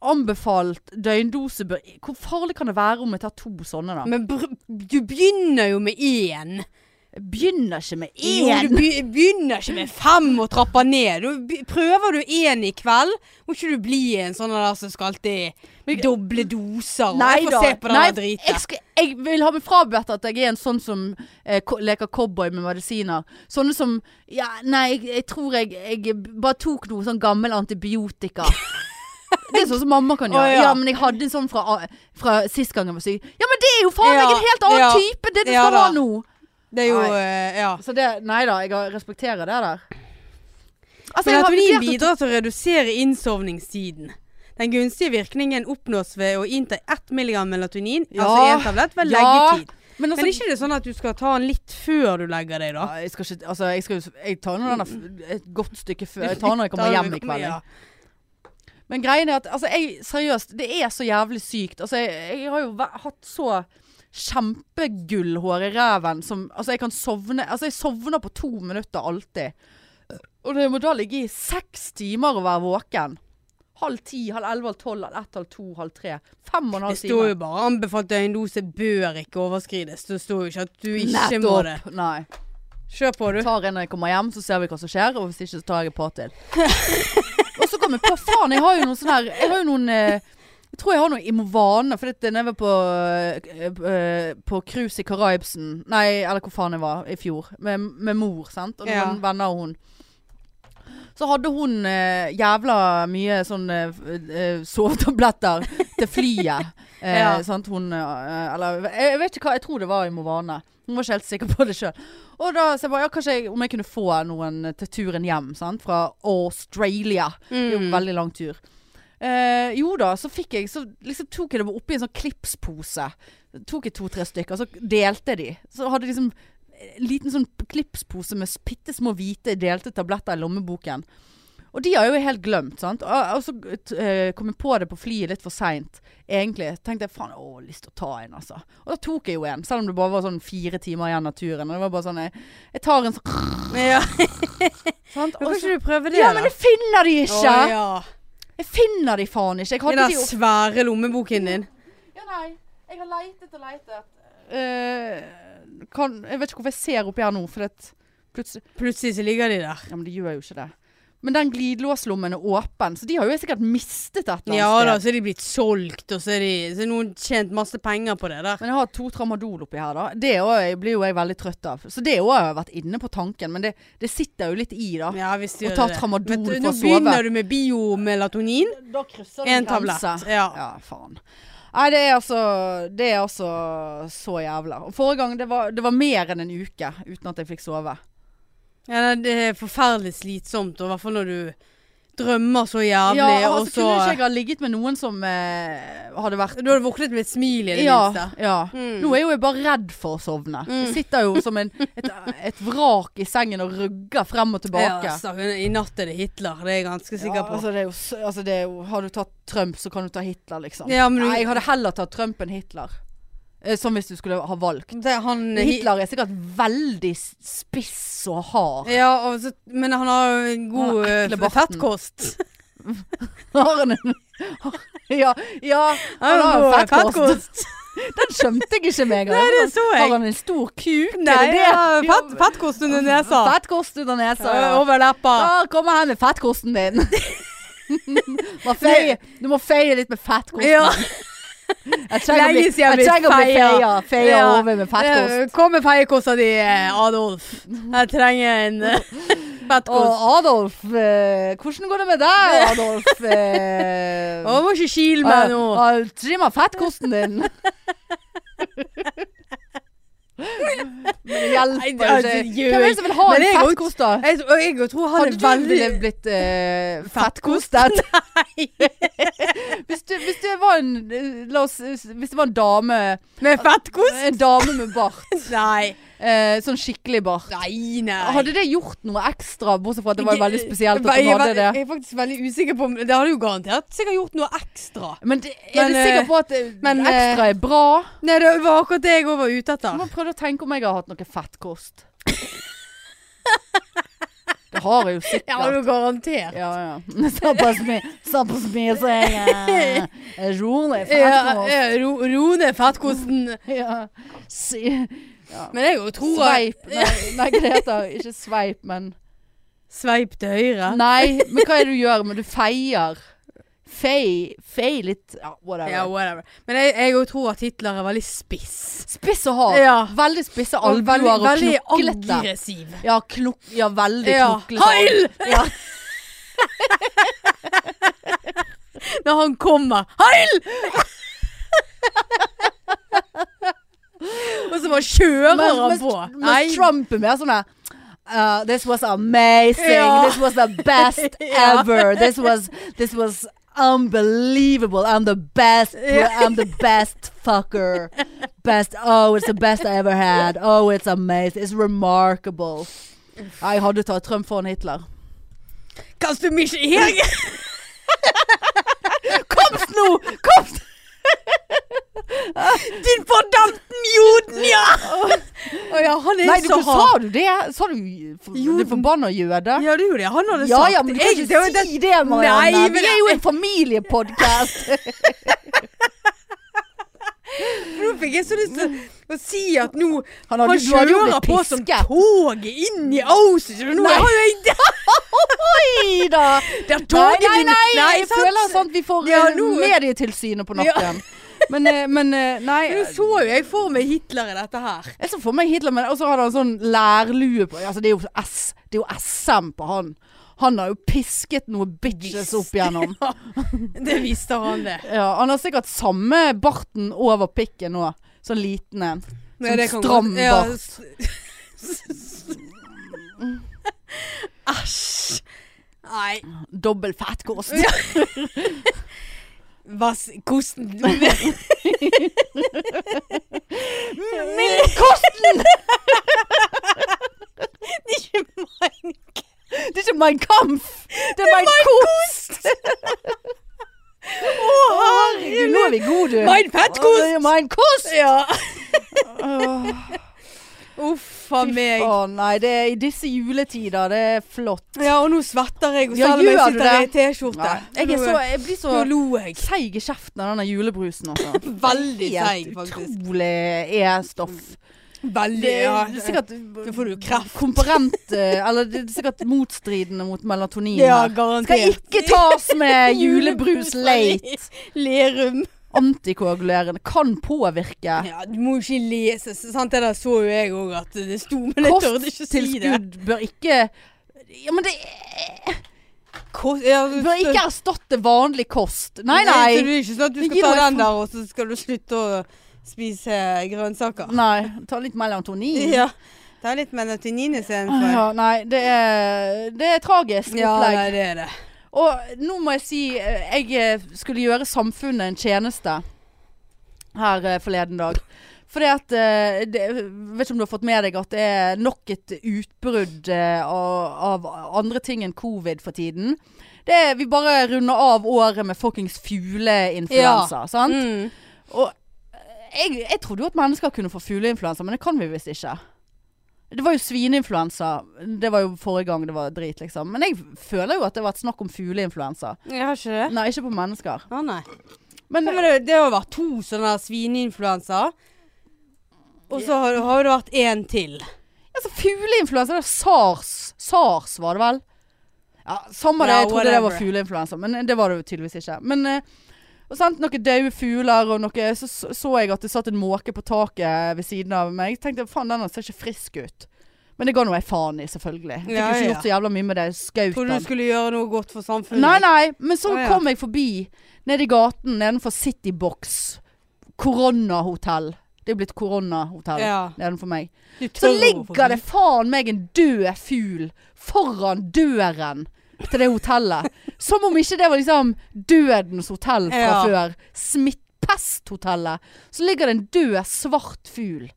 Speaker 1: anbefalt døgndose bør Hvor farlig kan det være om jeg tar to sånne, da?
Speaker 2: Men br du begynner jo med én.
Speaker 1: Begynner ikke med
Speaker 2: Jo,
Speaker 1: én.
Speaker 2: du be- begynner ikke med fem og trapper ned. Du be- prøver du én i kveld, må ikke du bli en sånn der som skal alltid doble doser. og
Speaker 1: Nei
Speaker 2: jeg
Speaker 1: da.
Speaker 2: får se på den
Speaker 1: Nei,
Speaker 2: der driten.
Speaker 1: jeg, skal, jeg vil ha meg frabedt at jeg er en sånn som eh, ko leker cowboy med medisiner. Sånne som Ja, nei, jeg, jeg tror jeg, jeg bare tok noe sånn gammel
Speaker 2: (laughs)
Speaker 1: antibiotika. Det er sånn som mamma kan gjøre.
Speaker 2: Å,
Speaker 1: ja.
Speaker 2: ja.
Speaker 1: men jeg hadde en sånn fra, fra sist gang jeg var syk. Ja, men det er jo faen meg
Speaker 2: Ja,
Speaker 1: en helt annen
Speaker 2: ja.
Speaker 1: type enn det du
Speaker 2: Ja
Speaker 1: skal ha
Speaker 2: da.
Speaker 1: nå.
Speaker 2: Det er jo
Speaker 1: Nei. Altså,
Speaker 2: eh, Ja.
Speaker 1: Så det Nei da, jeg har- respekterer det der. Altså,
Speaker 2: Men
Speaker 1: jeg
Speaker 2: at
Speaker 1: har
Speaker 2: vi
Speaker 1: vurdert å
Speaker 2: bidrar til å redusere innsovningstiden. Den gunstige virkningen oppnås ved å innta 1 mg melatonin,
Speaker 1: Ja.
Speaker 2: altså én tablett, ved
Speaker 1: Ja.
Speaker 2: leggetid.
Speaker 1: Men altså,
Speaker 2: Men er ikke det sånn at du skal ta den litt før du legger deg, da?
Speaker 1: Ja, jeg skal ikke Altså, jeg skal jo Jeg tar nå den der f- et godt stykke før (laughs) Jeg tar når jeg kommer hjem i kveld. jeg.
Speaker 2: Ja.
Speaker 1: Men greien er at Altså, jeg Seriøst, det er så jævlig sykt. Altså, jeg, jeg har jo væ- hatt så kjempegullhår i ræven som Altså, jeg kan sovne Altså, jeg sovner på to minutter alltid. Og det må da ligge i seks timer å være våken. Halv ti, halv elleve, halv tolv, halv ett, halv to, halv tre. Fem og en
Speaker 2: Det
Speaker 1: halv
Speaker 2: står
Speaker 1: time.
Speaker 2: jo bare anbefalt døgndose bør ikke overskrides. Det står jo ikke at du ikke må det.
Speaker 1: Nei.
Speaker 2: Kjør på, du.
Speaker 1: tar en når jeg kommer hjem, så ser vi hva som skjer, og hvis ikke så tar jeg et par til. (laughs) og så kom jeg på, faen, jeg har jo noen sånne her, jeg har jo noen, eh, jeg tror jeg har noen Imovane, for dette nede på, eh, eh, på cruise i Karibsen, nei, eller hvor faen jeg var, i fjor, med, med mor, sant, og
Speaker 2: Ja.
Speaker 1: noen venner og hun. Så hadde hun eh, jævla mye sånn eh, f- eh, sovetabletter til
Speaker 2: (laughs)
Speaker 1: flyet. Eh,
Speaker 2: Ja.
Speaker 1: sant? Hun, eh, eller, jeg, jeg vet ikke hva, jeg tror det var i Movane. Hun var ikke helt sikker på det sjøl. Og da så jeg bare, ja, kanskje jeg, om jeg kunne få noen til turen hjem, sant? fra Australia. Det er jo en
Speaker 2: Mm.
Speaker 1: veldig lang tur. Eh, jo da, så fikk jeg Så liksom tok jeg det oppi en sånn klipspose. Tok jeg to-tre stykker, så delte jeg de. Så hadde jeg liksom en liten sånn klipspose med bitte små hvite delte tabletter i lommeboken. Og de har jeg jo helt glemt, sant. Og, og så eh, kom jeg på det på flyet litt for seint, egentlig. Så tenkte jeg faen, å, jeg har lyst til å ta en, altså. Og da tok jeg jo en, selv om det bare var sånn fire timer igjen av turen. Og det var bare sånn Jeg, jeg tar en sånn (laughs)
Speaker 2: Ja.
Speaker 1: sant?
Speaker 2: Men
Speaker 1: Og
Speaker 2: kan
Speaker 1: så,
Speaker 2: ikke du prøve det,
Speaker 1: ja, men jeg finner de ikke!
Speaker 2: Å, ja.
Speaker 1: Jeg finner de faen ikke. Jeg
Speaker 2: I
Speaker 1: hadde
Speaker 2: den
Speaker 1: de opp...
Speaker 2: svære lommeboken din.
Speaker 1: Ja, nei. Jeg har leitet og leitet. Eh, kan, jeg vet ikke hvorfor jeg ser oppi her nå, for det plutselig
Speaker 2: Plutselig så ligger de der.
Speaker 1: Ja, men det gjør jo ikke det. Men den glidelåslommen er åpen, så de har jo sikkert mistet et eller
Speaker 2: Ja da,
Speaker 1: annet sted.
Speaker 2: så er de blitt solgt, og så er de så er noen tjent masse penger på det der.
Speaker 1: Men jeg har to tramadol oppi her, da. Det er også- blir jo jeg veldig trøtt av. Så det òg har jeg vært inne på tanken, men det, det sitter jo litt i, da.
Speaker 2: Ja, hvis du
Speaker 1: Og
Speaker 2: gjør
Speaker 1: tar
Speaker 2: det.
Speaker 1: tramadol
Speaker 2: Men
Speaker 1: for å
Speaker 2: Nå
Speaker 1: sove.
Speaker 2: begynner du med biomelatonin.
Speaker 1: Da krysser
Speaker 2: En tablett. Ja.
Speaker 1: Ja, faen. Nei, det er altså Det er altså så jævla. Og forrige gang det var, det var mer enn en uke uten at jeg fikk sove.
Speaker 2: ja nei, det er forferdelig slitsomt, og i hvert fall når du drømmer så jævlig,
Speaker 1: ja,
Speaker 2: og
Speaker 1: altså,
Speaker 2: så
Speaker 1: Kunne ikke jeg ha ligget med noen som eh, hadde vært
Speaker 2: Du hadde våknet med et smil i det
Speaker 1: ja,
Speaker 2: minste.
Speaker 1: ja.
Speaker 2: Mm.
Speaker 1: Nå er jo jeg bare redd for å sovne. Jeg sitter jo som en, et, et vrak i sengen og rugger frem og tilbake.
Speaker 2: (laughs) Ja, stakkar, I natt er det Hitler, det er jeg ganske sikker
Speaker 1: Ja,
Speaker 2: på.
Speaker 1: altså, det er jo, s- altså, det er jo, har du tatt Trump, så kan du ta Hitler, liksom.
Speaker 2: Ja, men du-
Speaker 1: Nei, jeg hadde heller tatt Trump enn Hitler. Eh, Som hvis du skulle ha valgt.
Speaker 2: det, er han,
Speaker 1: Hitler er sikkert veldig s- spiss og hard.
Speaker 2: Ja, og så, men han har jo en god
Speaker 1: Han har ekle
Speaker 2: eh,
Speaker 1: barten.
Speaker 2: fettkost.
Speaker 1: (laughs) Har han en (laughs) Ja, ja han
Speaker 2: Han
Speaker 1: har
Speaker 2: har
Speaker 1: en
Speaker 2: god
Speaker 1: fettkost.
Speaker 2: (laughs)
Speaker 1: Den skjønte jeg ikke med en gang.
Speaker 2: Det så
Speaker 1: Har
Speaker 2: jeg.
Speaker 1: han en stor kuk?
Speaker 2: Nei,
Speaker 1: er det det?
Speaker 2: ja, fett, fettkost under nesa.
Speaker 1: Fettkost under nesa.
Speaker 2: Eh,
Speaker 1: Ja.
Speaker 2: Over leppa.
Speaker 1: Der kommer han med fettkosten
Speaker 2: (laughs)
Speaker 1: din. Må feie- du må feie litt med fettkosten.
Speaker 2: Ja.
Speaker 1: Jeg trenger å bli,
Speaker 2: Lenge siden jeg har
Speaker 1: jeg trenger å bli
Speaker 2: blitt feia.
Speaker 1: feia, feia
Speaker 2: Ja.
Speaker 1: over med fettkost.
Speaker 2: Eh, Kom med feiekosta di, eh, Adolf. Jeg trenger en eh,
Speaker 1: (laughs)
Speaker 2: fettkost.
Speaker 1: Og Adolf, eh, hvordan går det med
Speaker 2: (laughs)
Speaker 1: deg, Adolf? Eh,
Speaker 2: Å, må ikke kile meg nå.
Speaker 1: Ah, ah, Trim av fettkosten
Speaker 2: (laughs)
Speaker 1: din. Men det hjelper
Speaker 2: Nei,
Speaker 1: ikke.
Speaker 2: det- altså, gjør
Speaker 1: Hvem er det som vil ha
Speaker 2: Men
Speaker 1: en
Speaker 2: det er godt.
Speaker 1: fettkost, da?
Speaker 2: Jeg, og jeg tror han
Speaker 1: Hadde
Speaker 2: er
Speaker 1: du
Speaker 2: veldig
Speaker 1: ville blitt
Speaker 2: (laughs)
Speaker 1: eh, (laughs) fettkostet? hvis, du, hvis det var en eh, La oss Hvis det var en dame
Speaker 2: Med
Speaker 1: (laughs)
Speaker 2: fettkost?
Speaker 1: En dame med bart.
Speaker 2: Nei.
Speaker 1: eh, sånn skikkelig bart.
Speaker 2: Nei, nei.
Speaker 1: Hadde det gjort noe ekstra, bortsett fra at det var veldig spesielt at hun
Speaker 2: Jeg-
Speaker 1: hadde det?
Speaker 2: Jeg er faktisk veldig usikker på om Det hadde jo garantert sikkert gjort noe ekstra.
Speaker 1: Men det, er
Speaker 2: Men,
Speaker 1: du sikker på at eh,
Speaker 2: men, eh,
Speaker 1: ekstra er bra?
Speaker 2: Nei, det var akkurat det jeg òg var ute
Speaker 1: Jeg må
Speaker 2: etter.
Speaker 1: prøve å tenke om jeg har hatt noe fettkost. (laughs) Det har jeg jo
Speaker 2: Ja, det var
Speaker 1: sikkert.
Speaker 2: jo (laughs) garantert.
Speaker 1: Ja, ja. Såpass mye, såpass mye så jeg (laughs) eh, rolig
Speaker 2: Ja,
Speaker 1: fettkost.
Speaker 2: eh, ro, ro ned fettkosten.
Speaker 1: Ja. Si, Ja.
Speaker 2: Men jeg jo tror at
Speaker 1: Sveip Nei, nei hva det heter Ikke sveip, men
Speaker 2: Sveip til høyre.
Speaker 1: Nei, men hva er det du gjør? Men du feier. Fei Fei litt Ja, whatever.
Speaker 2: Ja, whatever. Men jeg, jeg jo tror at Hitler er veldig spiss.
Speaker 1: Spiss og hard.
Speaker 2: Ja.
Speaker 1: Veldig spisse
Speaker 2: Og
Speaker 1: albuer og
Speaker 2: veldig
Speaker 1: knoklete.
Speaker 2: aggressiv.
Speaker 1: Ja, klok... Ja, veldig
Speaker 2: Ja.
Speaker 1: knoklete.
Speaker 2: Heil!
Speaker 1: Ja.
Speaker 2: (laughs) Når han kommer
Speaker 1: (laughs)
Speaker 2: Heil! og så bare kjører
Speaker 1: Men,
Speaker 2: han
Speaker 1: mens,
Speaker 2: på.
Speaker 1: mens Trump er mer sånn der uh, this was amazing.
Speaker 2: Ja.
Speaker 1: This was the best
Speaker 2: (laughs) Ja.
Speaker 1: ever. This was, this was unbelievable. I'm the
Speaker 2: (laughs)
Speaker 1: best. I'm the best fucker. Best. Oh, it's the best I ever had. Oh, it's amazing. It's remarkable. Ja, Jeg hadde tatt Trump foran Hitler.
Speaker 2: Kast du meg ikke her?
Speaker 1: Komst nå! Komst!
Speaker 2: Din fordampten juden, ja! Å ja, han er
Speaker 1: Nei, du,
Speaker 2: så hard.
Speaker 1: sa du det? Sa du
Speaker 2: Jo.
Speaker 1: det forbanna jøde?
Speaker 2: Ja, det gjorde jeg. Han hadde
Speaker 1: Ja
Speaker 2: sagt
Speaker 1: ja, men du kan
Speaker 2: Jeg-
Speaker 1: ikke
Speaker 2: det var- det-
Speaker 1: si det, Marianne.
Speaker 2: Nei, men
Speaker 1: Vi er jo (laughs) en familiepodkast.
Speaker 2: Nå fikk jeg så lyst til å si at nå
Speaker 1: Han
Speaker 2: Han,
Speaker 1: hadde- du hadde jo
Speaker 2: kjører
Speaker 1: blitt
Speaker 2: på som
Speaker 1: pisket.
Speaker 2: toget inn i Auschwitz. og Nå
Speaker 1: Nei.
Speaker 2: har jo jeg det,
Speaker 1: Oi
Speaker 2: (laughs)
Speaker 1: da!
Speaker 2: det er
Speaker 1: Nei,
Speaker 2: toget
Speaker 1: nei,
Speaker 2: din-
Speaker 1: nei! Jeg
Speaker 2: sant?
Speaker 1: føler sånn at vi får
Speaker 2: Ja,
Speaker 1: eh,
Speaker 2: nå-
Speaker 1: Medietilsynet på nakken. Men, eh, men eh, nei
Speaker 2: (laughs) Nå så jo jeg for meg Hitler i dette her.
Speaker 1: Jeg så for meg Hitler, men og så hadde han sånn lærlue på altså, det, er jo S, det er jo SM på han. Han har jo pisket noen bitches opp
Speaker 2: (laughs)
Speaker 1: igjennom.
Speaker 2: Det visste han
Speaker 1: (laughs)
Speaker 2: det.
Speaker 1: Ja, han har sikkert samme barten over pikken nå. Sånn liten en.
Speaker 2: Nei,
Speaker 1: Sånn
Speaker 2: det kan
Speaker 1: stram
Speaker 2: godt- ja,
Speaker 1: bart.
Speaker 2: s- (laughs) Æsj. Nei.
Speaker 1: Dobbel fettkost. (laughs)
Speaker 2: Vass, kosten
Speaker 1: Mildkosten! det er ikke Mein Kampf! Det er Mein Kost! (laughs) Å, herregud, nå er vi gode, du.
Speaker 2: Mein Fettkost!
Speaker 1: Å, det er Mein Kost!
Speaker 2: Ja.
Speaker 1: Å,
Speaker 2: Uff a meg.
Speaker 1: Å nei, det er i disse juletider. Det er flott.
Speaker 2: Ja, og nå svetter jeg, og
Speaker 1: Ja,
Speaker 2: selv om
Speaker 1: gjør
Speaker 2: jeg
Speaker 1: du
Speaker 2: sitter i
Speaker 1: det?
Speaker 2: T-skjorte.
Speaker 1: Nei, Jeg, er så, jeg blir så
Speaker 2: Nå lo jeg.
Speaker 1: seig i kjeften av denne julebrusen. (laughs) Altså.
Speaker 2: Veldig seig,
Speaker 1: Helt
Speaker 2: faktisk.
Speaker 1: Utrolig E-stoff.
Speaker 2: Veldig,
Speaker 1: Det
Speaker 2: ja.
Speaker 1: er sikkert
Speaker 2: Da får du kreft.
Speaker 1: Komparent eh, Eller det er sikkert motstridende mot melatonin.
Speaker 2: Ja,
Speaker 1: her. Skal
Speaker 2: garantert.
Speaker 1: ikke tas (laughs) med julebrus late.
Speaker 2: Lerum.
Speaker 1: Antikoagulerende kan påvirke.
Speaker 2: Ja, du må jo ikke lese, så sant? Det der så jo jeg òg at det sto, men jeg tørde ikke si det.
Speaker 1: Kosttilskudd bør ikke Ja, men det
Speaker 2: Kost, ja, du-
Speaker 1: bør ikke erstatte vanlig kost. Nei, nei.
Speaker 2: Så det er ikke sånn at du
Speaker 1: Men
Speaker 2: skal
Speaker 1: gi
Speaker 2: ta
Speaker 1: meg
Speaker 2: den
Speaker 1: faen.
Speaker 2: der, og så skal du slutte å spise grønnsaker.
Speaker 1: Nei, Ta litt melatonin.
Speaker 2: Ja. Ta litt melatonin
Speaker 1: Åh,
Speaker 2: istedenfor.
Speaker 1: Ja, nei, det er, det er tragisk
Speaker 2: Ja,
Speaker 1: opplegg.
Speaker 2: nei, det er det.
Speaker 1: Og nå må jeg si eh, Jeg eh, skulle gjøre samfunnet en tjeneste her eh, forleden dag. Fordi at eh, det, jeg Vet ikke om du har fått med deg at det er nok et utbrudd eh, av, av andre ting enn covid for tiden. Det er, vi bare runder av året med fuckings fugleinfluensa. Sant?
Speaker 2: Mm.
Speaker 1: Og jeg, jeg trodde jo at mennesker kunne få fugleinfluensa, men det kan vi visst ikke. Det var jo svineinfluensa. Det var jo forrige gang det var drit, liksom. Men jeg føler jo at det har vært snakk om fugleinfluensa.
Speaker 2: Jeg har ikke det.
Speaker 1: Nei, ikke på mennesker.
Speaker 2: Å nei.
Speaker 1: Men
Speaker 2: Ja, men det, det har vært to sånne svineinfluensaer. Og så har, har det vært én til.
Speaker 1: altså, fugleinfluensa, det er sars. Sars var det vel? Ja, samme det.
Speaker 2: Ja,
Speaker 1: Jeg trodde det var
Speaker 2: whatever.
Speaker 1: fugleinfluensa, men eh, det var det jo tydeligvis ikke. Men eh, og sant, noen døde fugler, og noe, så så- så jeg at det satt en måke på taket ved siden av meg. Jeg tenkte faen, den ser ikke frisk ut. Men det ga nå jeg faen i, selvfølgelig. Jeg fikk
Speaker 2: Ja,
Speaker 1: jo ikke
Speaker 2: ja.
Speaker 1: gjort så jævla mye med det. Skaut
Speaker 2: Trodde
Speaker 1: den.
Speaker 2: du skulle gjøre noe godt for samfunnet.
Speaker 1: Nei, nei, men så
Speaker 2: Å, ja.
Speaker 1: kom jeg forbi nede i gaten nedenfor Citybox. Koronahotell. Det er blitt koronahotell
Speaker 2: Ja.
Speaker 1: nedenfor meg.
Speaker 2: Du
Speaker 1: Så
Speaker 2: tør å gå
Speaker 1: ligger
Speaker 2: forbi.
Speaker 1: det faen meg en død fugl foran døren til det hotellet. Som om ikke det var liksom dødens hotell fra
Speaker 2: Ja.
Speaker 1: før. Smittpesthotellet. Så ligger det en død, svart fugl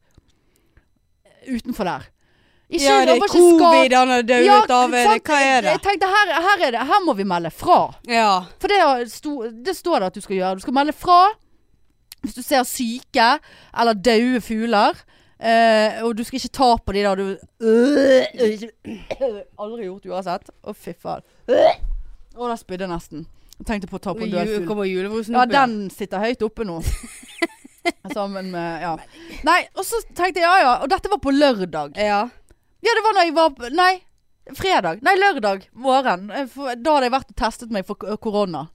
Speaker 1: utenfor der. Ikke,
Speaker 2: Ja, det
Speaker 1: han var
Speaker 2: er
Speaker 1: ikke skadet-
Speaker 2: covid han har dødd
Speaker 1: Ja,
Speaker 2: av. er det-
Speaker 1: sant?
Speaker 2: Hva er det?
Speaker 1: Jeg tenkte her, her er det. Her må vi melde fra.
Speaker 2: Ja.
Speaker 1: For det, har sto, det står det at du skal gjøre. Du skal melde fra hvis du ser syke eller døde fugler. eh, og du skal ikke ta på de der du Aldri gjort uansett. Å, fy faen. Å, der spydde jeg nesten. Jeg tenkte på å ta på en død
Speaker 2: Ju-
Speaker 1: fugl.
Speaker 2: Kommer julebrusen
Speaker 1: Ja,
Speaker 2: opp igjen?
Speaker 1: den sitter høyt oppe nå. Sammen med Ja. Nei, og så tenkte jeg ja ja, og dette var på lørdag.
Speaker 2: Ja.
Speaker 1: Ja, det var når jeg var på- Nei, fredag. Nei, lørdag morgen. Eh, for Da hadde jeg vært og testet meg for k- korona.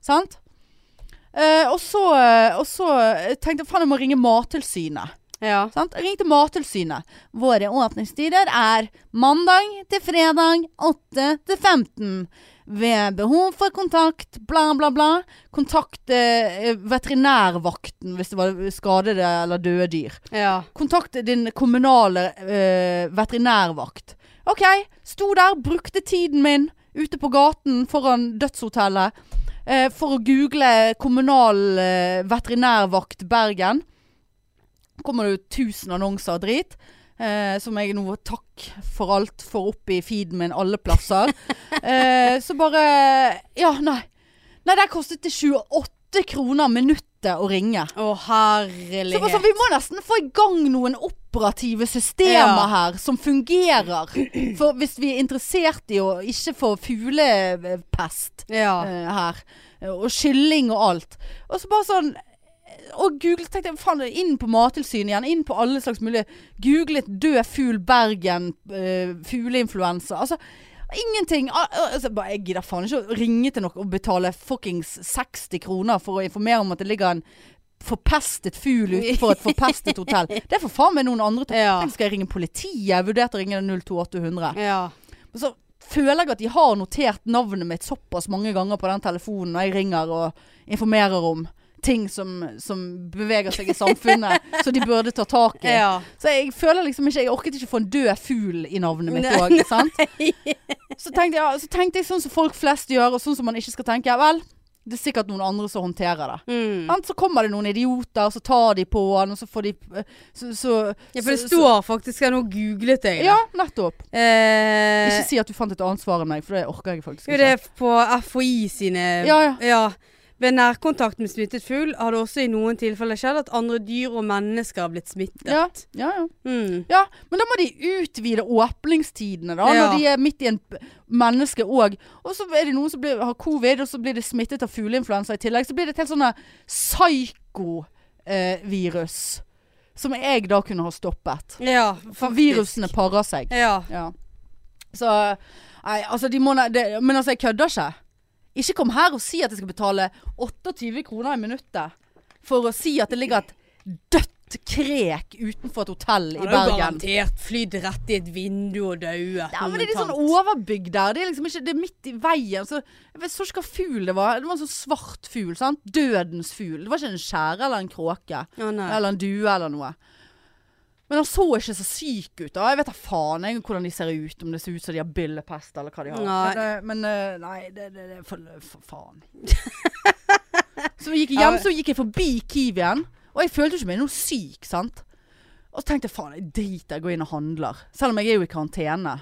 Speaker 1: Sant? Eh, og så, eh, og så eh, tenkte jeg faen, jeg må ringe Mattilsynet.
Speaker 2: ja.
Speaker 1: Sant? Jeg ringte Mattilsynet. Våre åpningstider er mandag til fredag 8 til 15. Ved behov for kontakt, bla, bla, bla. Kontakt eh, veterinærvakten hvis det var skadede eller døde dyr.
Speaker 2: ja.
Speaker 1: Kontakt din kommunale eh, veterinærvakt. Ok, sto der, brukte tiden min ute på gaten foran dødshotellet eh, for å google kommunal eh, veterinærvakt Bergen. Kommer det jo 1000 annonser og drit. eh, som jeg nå takk for alt får opp i feeden min alle plasser. Eh, så bare Ja, nei. Nei, der kostet det 28 kroner minuttet å ringe.
Speaker 2: Å,
Speaker 1: Så bare
Speaker 2: herlighet.
Speaker 1: sånn, vi må nesten få i gang noen operative systemer
Speaker 2: Ja.
Speaker 1: her som fungerer. For hvis vi er interessert i å ikke få fuglepest
Speaker 2: Ja.
Speaker 1: eh, her, eh, og kylling og alt. Og så bare sånn og googlet, tenkte jeg, faen, inn på Mattilsynet igjen, inn på alle slags mulige Googlet død fugl Bergen, eh, fugleinfluensa. Altså ingenting. Al- al- Altså, bare, jeg gidder faen ikke å ringe til noen og betale fuckings 60 kroner for å informere om at det ligger en forpestet fugl utenfor et forpestet hotell. Det får faen meg noen andre ta.
Speaker 2: Ja.
Speaker 1: Tenk, Skal jeg ringe politiet? Jeg vurderte å ringe 02800.
Speaker 2: Ja.
Speaker 1: Men så føler jeg at de har notert navnet mitt såpass mange ganger på den telefonen når jeg ringer og informerer om ting som, som beveger seg i samfunnet,
Speaker 2: (laughs)
Speaker 1: så de burde ta tak i.
Speaker 2: Ja.
Speaker 1: Så jeg føler liksom ikke Jeg orket ikke få en død fugl i navnet mitt
Speaker 2: Nei,
Speaker 1: òg,
Speaker 2: (laughs)
Speaker 1: sant? Så tenkte, jeg, så tenkte jeg sånn som folk flest gjør, og sånn som man ikke skal tenke. Vel, det er sikkert noen andre som håndterer det.
Speaker 2: Mm.
Speaker 1: Sant? Så kommer det noen idioter, og så tar de på han, og så får de eh, Så, så,
Speaker 2: ja, for det
Speaker 1: så-
Speaker 2: står faktisk her, nå googlet
Speaker 1: så-
Speaker 2: jeg. det.
Speaker 1: Ja, nettopp.
Speaker 2: Eh,
Speaker 1: Ikke si at du fant et annet svar enn meg, for det orker jeg faktisk
Speaker 2: Jo,
Speaker 1: ikke.
Speaker 2: det er på FHI sine
Speaker 1: Ja, ja.
Speaker 2: Ved nærkontakt med smittet fugl har det også i noen tilfeller skjedd at andre dyr og mennesker har blitt smittet.
Speaker 1: Ja, ja, ja.
Speaker 2: Mm.
Speaker 1: ja, men da må de utvide åpningstidene da,
Speaker 2: Ja.
Speaker 1: når de er midt i en p- menneske òg. Og så er det noen som blir, har covid, og så blir det smittet av fugleinfluensa i tillegg. Så blir det et helt sånn psykovirus som jeg da kunne ha stoppet.
Speaker 2: ja
Speaker 1: For
Speaker 2: faktisk.
Speaker 1: virusene parer seg.
Speaker 2: Ja.
Speaker 1: Ja. Så Nei, altså de må ne- det, Men altså, jeg kødder ikke. Ikke kom her og si at jeg skal betale 28 kroner i minuttet for å si at det ligger et dødt krek utenfor et hotell i
Speaker 2: Han har jo
Speaker 1: Bergen.
Speaker 2: garantert flydd rett i et vindu og dauet.
Speaker 1: Ja, men det er litt sånn
Speaker 2: momentant.
Speaker 1: overbygg der. Det er liksom ikke Det er midt i veien. Så jeg vet- så ikke hva fugl det var. Det var en sånn svart fugl. sant? Dødens fugl. Det var ikke en skjære eller en kråke.
Speaker 2: Å, nei.
Speaker 1: Eller en due eller noe. Men han så ikke så syk ut. da Jeg vet da faen jeg hvordan de ser ut. Om det ser ut som de har byllepest eller hva de har.
Speaker 2: Nei.
Speaker 1: Men, eh, Men, eh, nei, det, det, det for, for
Speaker 2: (laughs)
Speaker 1: faen. så vi gikk hjem,
Speaker 2: Ja.
Speaker 1: så gikk jeg forbi Kiwien. Og jeg følte jo ikke meg noe syk, sant. Og så tenkte jeg faen, jeg driter, jeg går inn og handler. Selv om jeg er jo i karantene.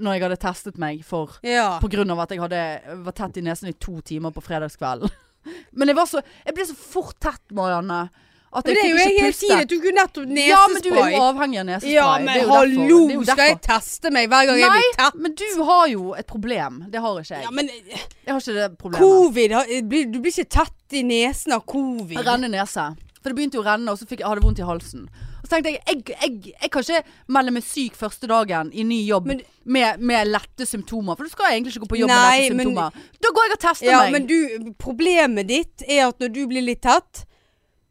Speaker 1: Når jeg hadde testet meg for
Speaker 2: ja.
Speaker 1: på grunn av at jeg hadde, var tett i nesen i to timer på fredagskvelden. (laughs) Men jeg, var så, jeg ble så fort tett, Marianne. At jeg
Speaker 2: Men det er jo
Speaker 1: fikk
Speaker 2: jeg
Speaker 1: ikke
Speaker 2: helt
Speaker 1: puste.
Speaker 2: sier, du kunne nettopp nesespray.
Speaker 1: Ja, men du er jo avhengig av nesespray.
Speaker 2: Ja,
Speaker 1: Det er
Speaker 2: men
Speaker 1: jo
Speaker 2: hallo,
Speaker 1: derfor- det er jo
Speaker 2: skal jeg
Speaker 1: derfor.
Speaker 2: teste meg hver gang jeg
Speaker 1: Nei,
Speaker 2: blir tett?
Speaker 1: Men du har jo et problem. Det har ikke
Speaker 2: Ja,
Speaker 1: jeg.
Speaker 2: men
Speaker 1: Jeg har ikke det problemet.
Speaker 2: covid har- eh, blir- Du blir ikke tett i nesen av covid.
Speaker 1: Renne nese. For det begynte jo å renne, og så fikk, jeg hadde jeg vondt i halsen. Og så tenkte jeg jeg, jeg jeg kan ikke melde meg syk første dagen i ny jobb
Speaker 2: Men-
Speaker 1: med, med lette symptomer. For du skal egentlig ikke gå på jobb
Speaker 2: Nei,
Speaker 1: med lette
Speaker 2: men-
Speaker 1: symptomer. Da går jeg og tester
Speaker 2: Ja,
Speaker 1: meg.
Speaker 2: men du, problemet ditt er at når du blir litt tett,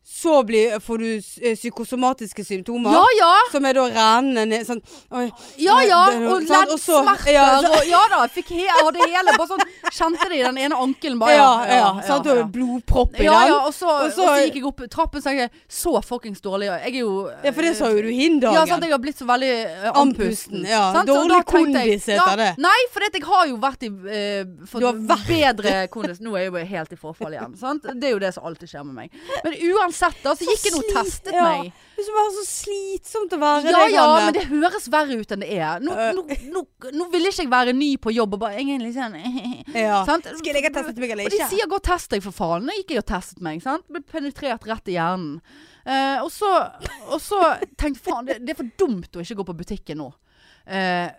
Speaker 2: så blir, får du s- eh, psykosomatiske symptomer.
Speaker 1: ja, ja.
Speaker 2: Som er da rennende ned sånn oi,
Speaker 1: Ja
Speaker 2: oi,
Speaker 1: ja,
Speaker 2: det-
Speaker 1: og
Speaker 2: sånn, og så-
Speaker 1: leddsmerter. Ja,
Speaker 2: Ja, så-
Speaker 1: ja da, jeg fikk he jeg hadde hele bare sånn, Kjente det i den ene ankelen bare.
Speaker 2: ja, ja, sant? Og blodpropp i
Speaker 1: Ja, ja,
Speaker 2: den.
Speaker 1: og så, og
Speaker 2: Og så-
Speaker 1: så gikk jeg opp trappen, så jeg er så fuckings dårlig. Jeg er jo
Speaker 2: Ja, for det sa jo du hindagen.
Speaker 1: Ja, sant, jeg har blitt så veldig eh, andpusten.
Speaker 2: Andpusten, ja.
Speaker 1: Sant, så
Speaker 2: Dårlig
Speaker 1: da tenkte jeg-
Speaker 2: kondis heter det.
Speaker 1: Nei, for jeg har jo vært i eh, fått
Speaker 2: Du har vært-
Speaker 1: bedre kondis. Nå er jeg jo helt i forfall igjen. Sant? Det er jo det som alltid skjer med meg. Men uansett, da, så gikk jeg nå og
Speaker 2: Slit-
Speaker 1: testet
Speaker 2: ja.
Speaker 1: meg.
Speaker 2: Det er bare så slitsomt å være
Speaker 1: Ja
Speaker 2: deg,
Speaker 1: ja,
Speaker 2: Anne.
Speaker 1: men det høres verre ut enn det er. Nå,
Speaker 2: sånn Eh.
Speaker 1: nå, nå, nå ville ikke jeg være ny på jobb og bare Jeg er litt sånn (laughs)
Speaker 2: ja.
Speaker 1: Sant?
Speaker 2: Skulle jeg ha testet meg eller
Speaker 1: Og de
Speaker 2: ikke?
Speaker 1: sier 'gå og test deg', for faen. Da gikk jeg og testet meg. sant? Ble penetrert rett i hjernen. Eh, og, så, og så tenkte jeg faen, det, det er for dumt å ikke gå på butikken nå. Eh,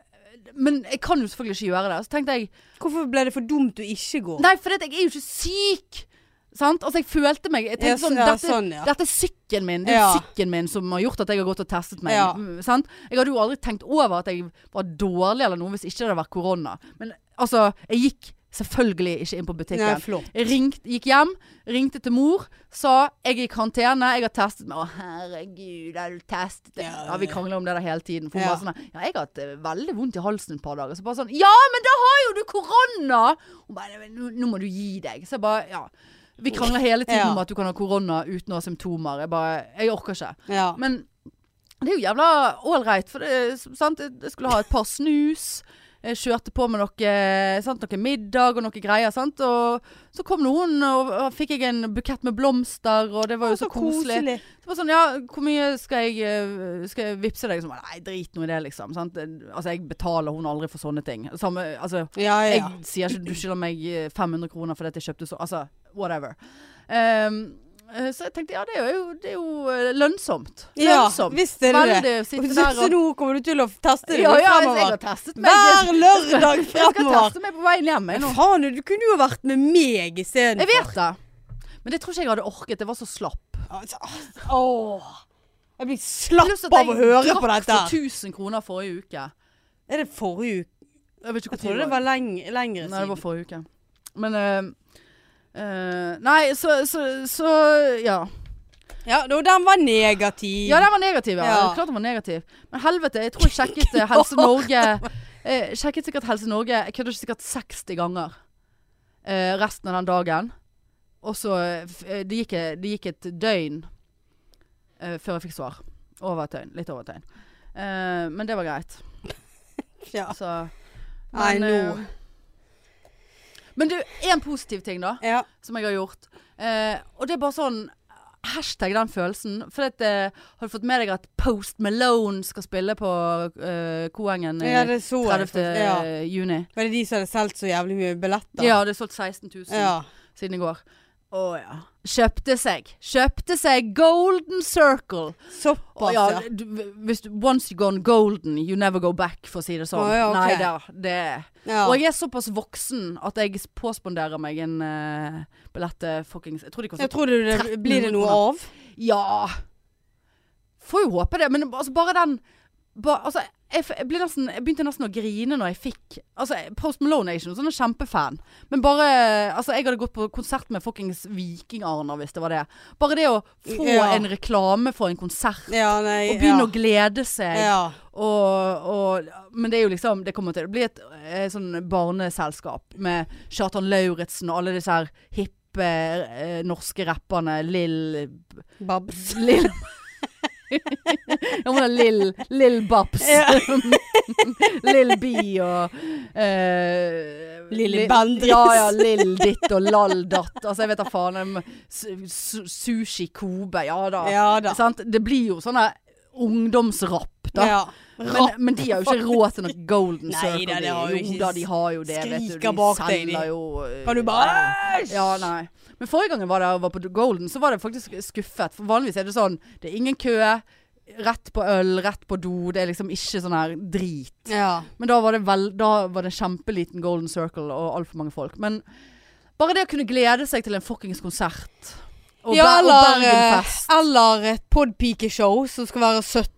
Speaker 1: men jeg kan jo selvfølgelig ikke gjøre det. Så tenkte jeg
Speaker 2: Hvorfor ble det for dumt å ikke gå?
Speaker 1: nei, for jeg er jo ikke syk! Sant? Altså, jeg følte meg jeg
Speaker 2: Ja,
Speaker 1: tenkte sånn,
Speaker 2: så- ja,
Speaker 1: dette,
Speaker 2: sånn, ja.
Speaker 1: dette er sykkelen min. Det er
Speaker 2: Ja.
Speaker 1: sykkelen min som har gjort at jeg har gått og testet meg.
Speaker 2: Ja.
Speaker 1: Mm, Sant? Jeg hadde jo aldri tenkt over at jeg var dårlig eller noe hvis ikke det hadde vært korona. Men altså, jeg gikk selvfølgelig ikke inn på butikken.
Speaker 2: Nei, flott.
Speaker 1: Jeg ringte, gikk hjem, ringte til mor, sa jeg er i karantene, jeg har testet meg. Å herregud, har du testet deg?
Speaker 2: Ja,
Speaker 1: Ja, vi krangler om det der hele tiden. For hun
Speaker 2: Ja.
Speaker 1: bare sånn her, ja, jeg har hatt eh, veldig vondt i halsen et par dager. Så bare sånn, ja, men da har jo du korona! Hun bare, "Nei, men nå, nå må du gi deg. Så jeg bare, ja. Vi krangler hele tiden
Speaker 2: Ja.
Speaker 1: om at du kan ha korona uten å ha symptomer. Jeg bare, jeg orker ikke.
Speaker 2: Ja.
Speaker 1: Men det er jo jævla ålreit, for det, sant? jeg skulle ha et par snus. Jeg kjørte på med noe, sant? noe middag og noe greier. Sant? Og så kom nå hun, og og fikk jeg en bukett med blomster, og det var jo så, koselig. Det var sånn, ja, hvor mye skal jeg, eh, skal jeg vippse deg? Så bare, Nei, drit nå i det, liksom. Sant? Altså, jeg betaler hun aldri for sånne ting. Samme, altså,
Speaker 2: Ja, ja. ja.
Speaker 1: jeg sier ikke du skylder meg eh, 500 kroner fordi at jeg kjøpte så Altså, whatever. Ehm, eh, så jeg tenkte ja, det er jo, det er jo eh, lønnsomt.
Speaker 2: Ja,
Speaker 1: Lønnsomt.
Speaker 2: visste du
Speaker 1: Veldig,
Speaker 2: det?
Speaker 1: sitte
Speaker 2: Så-
Speaker 1: der
Speaker 2: Så
Speaker 1: og-
Speaker 2: nå kommer du til å teste det
Speaker 1: Ja, ja, jeg
Speaker 2: fremover.
Speaker 1: har testet meg.
Speaker 2: Hver lørdag
Speaker 1: jeg skal
Speaker 2: fremover.
Speaker 1: teste meg på veien hjem. Jeg, nå.
Speaker 2: Faen, du kunne jo vært med meg
Speaker 1: jeg
Speaker 2: istedenfor.
Speaker 1: vet det. Men det tror ikke jeg hadde orket. Jeg var så slapp.
Speaker 2: Altså, Åh. Jeg blir
Speaker 1: Pluss
Speaker 2: slapp
Speaker 1: at
Speaker 2: av å høre på
Speaker 1: drakk
Speaker 2: dette.
Speaker 1: for 1000 kroner forrige uke.
Speaker 2: Er det forrige uke?
Speaker 1: Jeg vet ikke
Speaker 2: Jeg
Speaker 1: hvor tid
Speaker 2: trodde det var leng lengre
Speaker 1: Nei, det var
Speaker 2: siden.
Speaker 1: forrige uke. Men eh, eh, Nei, så, så, så Ja.
Speaker 2: Ja, da, den var negativ.
Speaker 1: Ja, den var negativ. Ja.
Speaker 2: Ja.
Speaker 1: Klart den var negativ. Men helvete, jeg tror jeg sjekket eh,
Speaker 2: (laughs)
Speaker 1: Helse Norge eh, Sjekket sikkert Helse Norge Jeg kødder ikke sikkert 60 ganger eh, resten av den dagen. Og så eh, f- eh, det, gikk, det gikk et døgn eh, før jeg fikk svar. Over et døgn. Litt over et døgn. Eh, men det var greit.
Speaker 2: Ja.
Speaker 1: Så
Speaker 2: Nei,
Speaker 1: men,
Speaker 2: nå.
Speaker 1: eh, Men du, én positiv ting, da
Speaker 2: Ja.
Speaker 1: som jeg har gjort. Eh, og det er bare sånn Hashtag den følelsen. For at, eh, har du fått med deg at Post Malone skal spille på eh, Koengen
Speaker 2: ja,
Speaker 1: i
Speaker 2: det så
Speaker 1: 30.
Speaker 2: jeg. faktisk. Ja.
Speaker 1: juni?
Speaker 2: Var det de som hadde solgt så jævlig mye billetter?
Speaker 1: Ja, det er solgt 16 000
Speaker 2: Ja.
Speaker 1: siden i går. Å ja. Kjøpte seg. Kjøpte seg Golden Circle. Å,
Speaker 2: Såpass,
Speaker 1: ja,
Speaker 2: ja.
Speaker 1: du, hvis du, once you gone golden, you never go back, for å si det sånn.
Speaker 2: Å, ja, ok.
Speaker 1: Nei da. Det er
Speaker 2: ja.
Speaker 1: Og jeg er såpass voksen at jeg påsponderer meg en eh, billett til fuckings Jeg tror de koster
Speaker 2: Jeg trodde det
Speaker 1: 1300
Speaker 2: Blir det noe
Speaker 1: kroner.
Speaker 2: av?
Speaker 1: Ja. Får jo håpe det, men altså bare den ba, altså, jeg, f- jeg, ble nesten, jeg begynte nesten å grine når jeg fikk altså, Post Malone er ikke noen sånn kjempefan. Men bare altså, Jeg hadde gått på konsert med fuckings Viking-Arner, hvis det var det. Bare det å få
Speaker 2: Ja.
Speaker 1: en reklame for en konsert,
Speaker 2: Ja, nei
Speaker 1: og begynne
Speaker 2: ja.
Speaker 1: å glede seg
Speaker 2: ja.
Speaker 1: og, og, men det er jo liksom Det kommer til å bli et, eh, sånn barneselskap med Kjartan Lauritzen og alle disse her hippe eh, norske rapperne. Lill
Speaker 2: Babs.
Speaker 1: Lill Ja, hun er Lill Lill Babs.
Speaker 2: Ja.
Speaker 1: (laughs) Lill Bi og eh,
Speaker 2: Lille
Speaker 1: Lill-
Speaker 2: Bendriss.
Speaker 1: Ja, ja. Lill ditt og Lall datt. Altså, jeg vet da faen. em, su- su- Sushi Kobe. Ja da.
Speaker 2: Ja da.
Speaker 1: Sant? Det blir jo sånne ungdomsrapp, da.
Speaker 2: Ja.
Speaker 1: Men, men de har jo ikke råd til noe Golden
Speaker 2: Nei,
Speaker 1: Circle.
Speaker 2: da, det har
Speaker 1: de.
Speaker 2: jo ikke
Speaker 1: Jo da, de har jo det. Vet du.
Speaker 2: skriker
Speaker 1: De
Speaker 2: bak deg, de.
Speaker 1: selger jo eh,
Speaker 2: Kan du bare
Speaker 1: Ja, nei. Men forrige gang jeg var der og var på Golden, så var det faktisk skuffet. For vanligvis er det sånn Det er ingen kø. Rett på øl, rett på do. Det er liksom ikke sånn her drit.
Speaker 2: Ja.
Speaker 1: Men da var det, vel, da var det en kjempeliten Golden Circle og altfor mange folk. Men bare det å kunne glede seg til en fuckings konsert. Og,
Speaker 2: ja,
Speaker 1: Ber- og
Speaker 2: eller, eh,
Speaker 1: Bergenfest.
Speaker 2: eller et podpikeshow som skal være 17.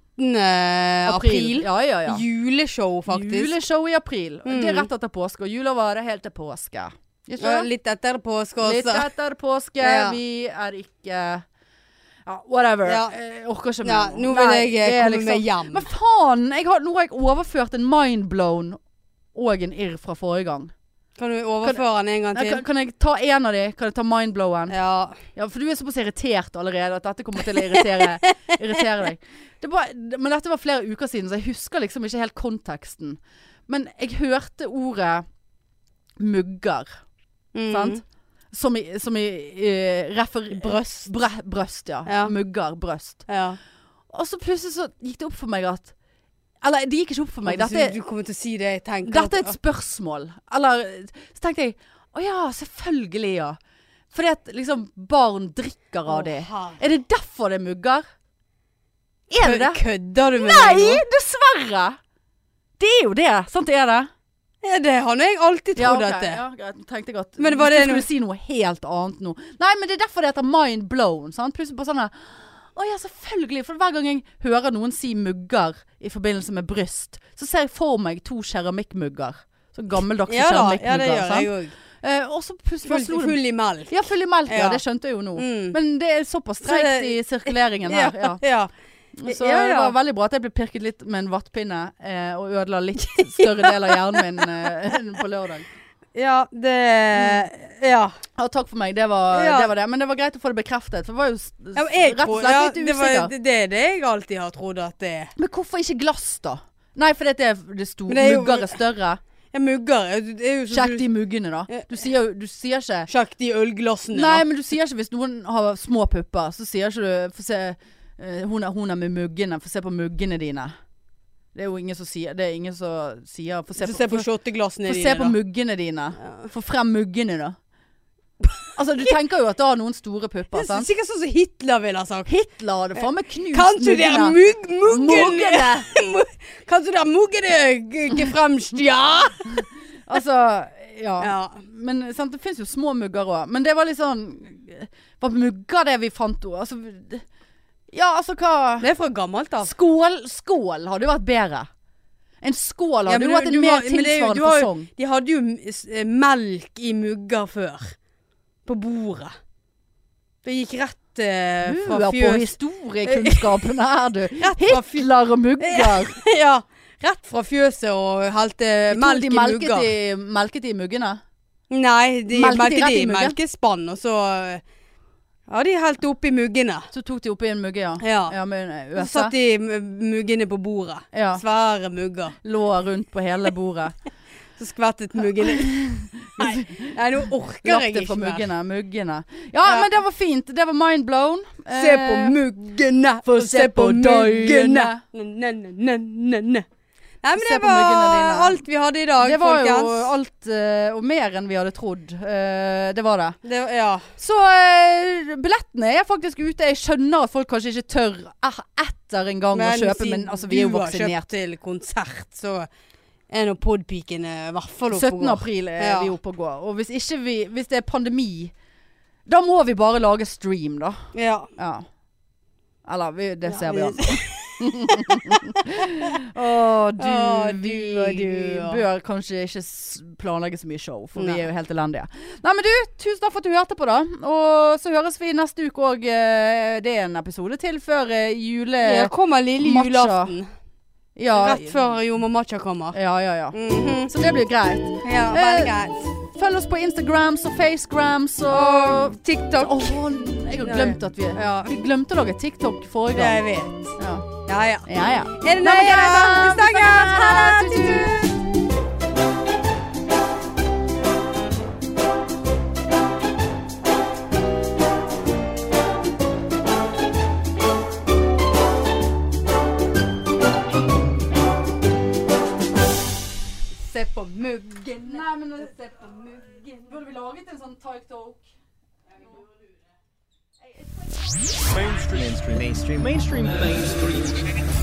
Speaker 2: april.
Speaker 1: Ja, ja, ja.
Speaker 2: Juleshow, faktisk.
Speaker 1: eh, Juleshow i april.
Speaker 2: Mm.
Speaker 1: Det er rett etter påske, og jula varer helt til påske. Ikke
Speaker 2: Ja,
Speaker 1: sant?
Speaker 2: Eh, litt etter påske også.
Speaker 1: Litt etter påske.
Speaker 2: Ja.
Speaker 1: Vi er ikke ja, whatever.
Speaker 2: Ja.
Speaker 1: Jeg orker ikke mer.
Speaker 2: Ja, nå vil
Speaker 1: Nei,
Speaker 2: jeg
Speaker 1: det
Speaker 2: eh,
Speaker 1: er
Speaker 2: komme
Speaker 1: liksom-
Speaker 2: meg hjem.
Speaker 1: Men faen! Jeg har, nå har jeg overført en mindblown og en irr fra forrige gang.
Speaker 2: Kan du overføre den en gang
Speaker 1: Nei,
Speaker 2: til?
Speaker 1: kan, kan jeg ta en av de? Kan jeg ta mindblowen?
Speaker 2: Ja.
Speaker 1: Ja, for du er såpass irritert allerede at dette kommer til å irritere, irritere deg. Det var, det- men dette var flere uker siden, så jeg husker liksom ikke helt konteksten. Men jeg hørte ordet mugger,
Speaker 2: Mm.
Speaker 1: sant? Som i, som i eh, refer...
Speaker 2: Brøst.
Speaker 1: Bre- brøst, ja.
Speaker 2: Ja.
Speaker 1: Mugger, brøst.
Speaker 2: Ja.
Speaker 1: Og så plutselig så gikk det opp for meg at Eller det gikk ikke opp for meg.
Speaker 2: Hvis
Speaker 1: Dette er
Speaker 2: du, du kommer til å si det jeg tenker.
Speaker 1: dette er et spørsmål. Eller så tenkte jeg Å ja, selvfølgelig, ja. Fordi at liksom barn drikker av det. Er det derfor det er mugger? Er det det?
Speaker 2: Kødder du med
Speaker 1: Nei,
Speaker 2: meg nå?
Speaker 1: dessverre! Det er jo det. Sant det er det?
Speaker 2: Ja, det har nå jeg alltid
Speaker 1: Ja,
Speaker 2: trodd
Speaker 1: ok,
Speaker 2: at det
Speaker 1: ja, greit. tenkte jeg at
Speaker 2: Men var
Speaker 1: hvis
Speaker 2: det
Speaker 1: du
Speaker 2: noe-
Speaker 1: skulle si noe helt annet nå. Nei, men det er derfor det heter mind blown. Sant? Plutselig bare sånn der, Å ja, selvfølgelig. For hver gang jeg hører noen si mugger i forbindelse med bryst, så ser jeg for meg to keramikkmugger. Sånn gammeldagse
Speaker 2: Ja da, ja, det
Speaker 1: keramikkmugger.
Speaker 2: gjør jeg
Speaker 1: sant?
Speaker 2: òg.
Speaker 1: Eh, og så plutselig bare
Speaker 2: Full,
Speaker 1: slo det
Speaker 2: full i melk.
Speaker 1: Ja, full i melk, ja.
Speaker 2: Ja.
Speaker 1: Det skjønte jeg jo nå.
Speaker 2: Mm.
Speaker 1: Men det er såpass
Speaker 2: Så det-
Speaker 1: treigt i sirkuleringen
Speaker 2: Ja,
Speaker 1: her.
Speaker 2: (laughs)
Speaker 1: Ja.
Speaker 2: ja.
Speaker 1: Så
Speaker 2: Ja,
Speaker 1: det
Speaker 2: ja.
Speaker 1: var veldig bra at jeg ble pirket litt med en vattpinne eh, og ødela litt større del av hjernen min eh, (laughs) på lørdag.
Speaker 2: Ja, det Ja.
Speaker 1: Ja, takk for meg. Det var,
Speaker 2: Ja.
Speaker 1: det var det. Men det var greit å få det bekreftet. For det var jo s-
Speaker 2: ja men jeg
Speaker 1: rett og
Speaker 2: tror,
Speaker 1: slett
Speaker 2: ja,
Speaker 1: litt
Speaker 2: det,
Speaker 1: usikker.
Speaker 2: var, det, det er det jeg alltid har trodd at det er.
Speaker 1: Men hvorfor ikke glass, da? Nei, for det er det sto
Speaker 2: Men det er jo-
Speaker 1: mugger er større.
Speaker 2: Ja, mugger er jo- det er jo sånn
Speaker 1: Sjekk de muggene, da. Du sier, jo- du sier ikke
Speaker 2: Sjekk de ølglassene.
Speaker 1: Nei,
Speaker 2: da.
Speaker 1: men du sier ikke hvis noen har små pupper, så sier ikke du Få se eh, hun, er, hun er med muggene. Få se på muggene dine. Det er jo ingen som sier Det er ingen som sier Få se
Speaker 2: Få
Speaker 1: på,
Speaker 2: se på
Speaker 1: få-
Speaker 2: shotteglassene
Speaker 1: få
Speaker 2: dine,
Speaker 1: se på
Speaker 2: da.
Speaker 1: muggene dine.
Speaker 2: Ja.
Speaker 1: Få frem muggene,
Speaker 2: (laughs)
Speaker 1: da. Altså, du tenker jo at da har noen store
Speaker 2: Det
Speaker 1: pupper,
Speaker 2: er
Speaker 1: sant?
Speaker 2: sikkert sånn som Hitler ville ha sagt.
Speaker 1: Hitler hadde faen meg knust
Speaker 2: Kan du der
Speaker 1: muggene.
Speaker 2: mugg... Muggene!
Speaker 1: Muggene!
Speaker 2: (laughs) Kan du der muggene gefremst, ja?
Speaker 1: Altså, ja.
Speaker 2: Ja.
Speaker 1: Men eh, sant, det fins jo små mugger òg. Men det var litt sånn Var mugger det vi fant òg? Altså Ja, altså hva
Speaker 2: Det er fra gammelt av.
Speaker 1: Skål, skål hadde jo vært bedre. En skål
Speaker 2: Ja,
Speaker 1: hadde jo
Speaker 2: men du-
Speaker 1: vært en
Speaker 2: du har-
Speaker 1: mer
Speaker 2: men det er jo- du
Speaker 1: tilsvarende
Speaker 2: har jo-
Speaker 1: fasong.
Speaker 2: De hadde jo m- s- eh, melk i mugger før. På bordet. Det gikk rett eh,
Speaker 1: Du
Speaker 2: fra
Speaker 1: er på
Speaker 2: fjøs.
Speaker 1: historiekunnskapene her, du.
Speaker 2: Rett (laughs) fra fjøs.
Speaker 1: Hitler og mugger.
Speaker 2: (laughs) Ja, rett fra fjøset og helte
Speaker 1: Jeg tror
Speaker 2: melk
Speaker 1: de
Speaker 2: i
Speaker 1: melket
Speaker 2: mugger.
Speaker 1: i- melket i muggene.
Speaker 2: Nei,
Speaker 1: Melket
Speaker 2: de
Speaker 1: de
Speaker 2: melket
Speaker 1: rett
Speaker 2: de
Speaker 1: i
Speaker 2: i
Speaker 1: muggen?
Speaker 2: melkespann, og så eh, Ja, de helte oppi muggene.
Speaker 1: Så tok de oppi en mugge, ja.
Speaker 2: Ja.
Speaker 1: Ja, med en
Speaker 2: Så
Speaker 1: øse.
Speaker 2: satt de m- muggene på bordet.
Speaker 1: Ja.
Speaker 2: Svære mugger.
Speaker 1: Lå rundt på hele bordet.
Speaker 2: Så skvettet
Speaker 1: (laughs)
Speaker 2: muggene Nei, nei nå orker
Speaker 1: Lagt
Speaker 2: jeg
Speaker 1: det fra
Speaker 2: ikke mer.
Speaker 1: muggene. muggene. Ja,
Speaker 2: Ja.
Speaker 1: men det var fint. Det var mind blown. Eh,
Speaker 2: Se på muggene,
Speaker 1: få
Speaker 2: og
Speaker 1: se på døgnene.
Speaker 2: Ne-ne-ne-ne-ne. Nei, men
Speaker 1: Se
Speaker 2: det
Speaker 1: på muggene
Speaker 2: var
Speaker 1: dine.
Speaker 2: alt vi hadde i dag,
Speaker 1: Det var jo
Speaker 2: folkens.
Speaker 1: alt eh, og mer enn vi hadde trodd. Eh, det var det.
Speaker 2: Det var- ja.
Speaker 1: Så eh, billettene er faktisk ute. Jeg skjønner at folk kanskje ikke tør eh, etter en gang å kjøpe, men altså, vi er jo
Speaker 2: du har kjøpt
Speaker 1: vaksinert.
Speaker 2: til konsert, så er nå podpikene i hvert fall oppe
Speaker 1: 17.
Speaker 2: og går.
Speaker 1: april er
Speaker 2: Ja.
Speaker 1: vi oppe og går. Og hvis, ikke vi, hvis det er pandemi, da må vi bare lage stream, da.
Speaker 2: Ja.
Speaker 1: Ja. Eller vi, det
Speaker 2: Ja,
Speaker 1: ser vi
Speaker 2: vi- (laughs)
Speaker 1: altså. Å, du,
Speaker 2: Å, du
Speaker 1: vi,
Speaker 2: og du,
Speaker 1: vi
Speaker 2: ja.
Speaker 1: bør kanskje ikke s- planlegge så mye show, for
Speaker 2: Nei.
Speaker 1: vi er jo helt elendige. Nei, men du, tusen takk for at du hørte på, da. Og så høres vi neste uke òg. Det er en episode til før eh, jule...
Speaker 2: Her kommer lille
Speaker 1: Matcha.
Speaker 2: julaften.
Speaker 1: Ja,
Speaker 2: Rett før Jomo Matcha kommer.
Speaker 1: Ja, ja, ja.
Speaker 2: Mhm.
Speaker 1: Så det blir greit.
Speaker 2: Ja,
Speaker 1: Eh,
Speaker 2: veldig greit.
Speaker 1: Følg oss på Instagrams og Facegrams og
Speaker 2: Og TikTok.
Speaker 1: Åh, jeg har glemt at vi
Speaker 2: Ja.
Speaker 1: Vi glemte å lage TikTok forrige
Speaker 2: Jeg
Speaker 1: gang.
Speaker 2: vet.
Speaker 1: Ja,
Speaker 2: Ja, ja.
Speaker 1: ja. ja.
Speaker 2: Er det
Speaker 1: Nei, men
Speaker 2: nøye?
Speaker 1: greit, da.
Speaker 2: Vi snakkes! Ha det!
Speaker 1: Tut, tut.
Speaker 2: Tut-tut! Se på muggen.
Speaker 1: Nei, men se på muggen. Burde vi laget en sånn Tyke Talk?
Speaker 3: mainstream mainstream mainstream mainstream mainstream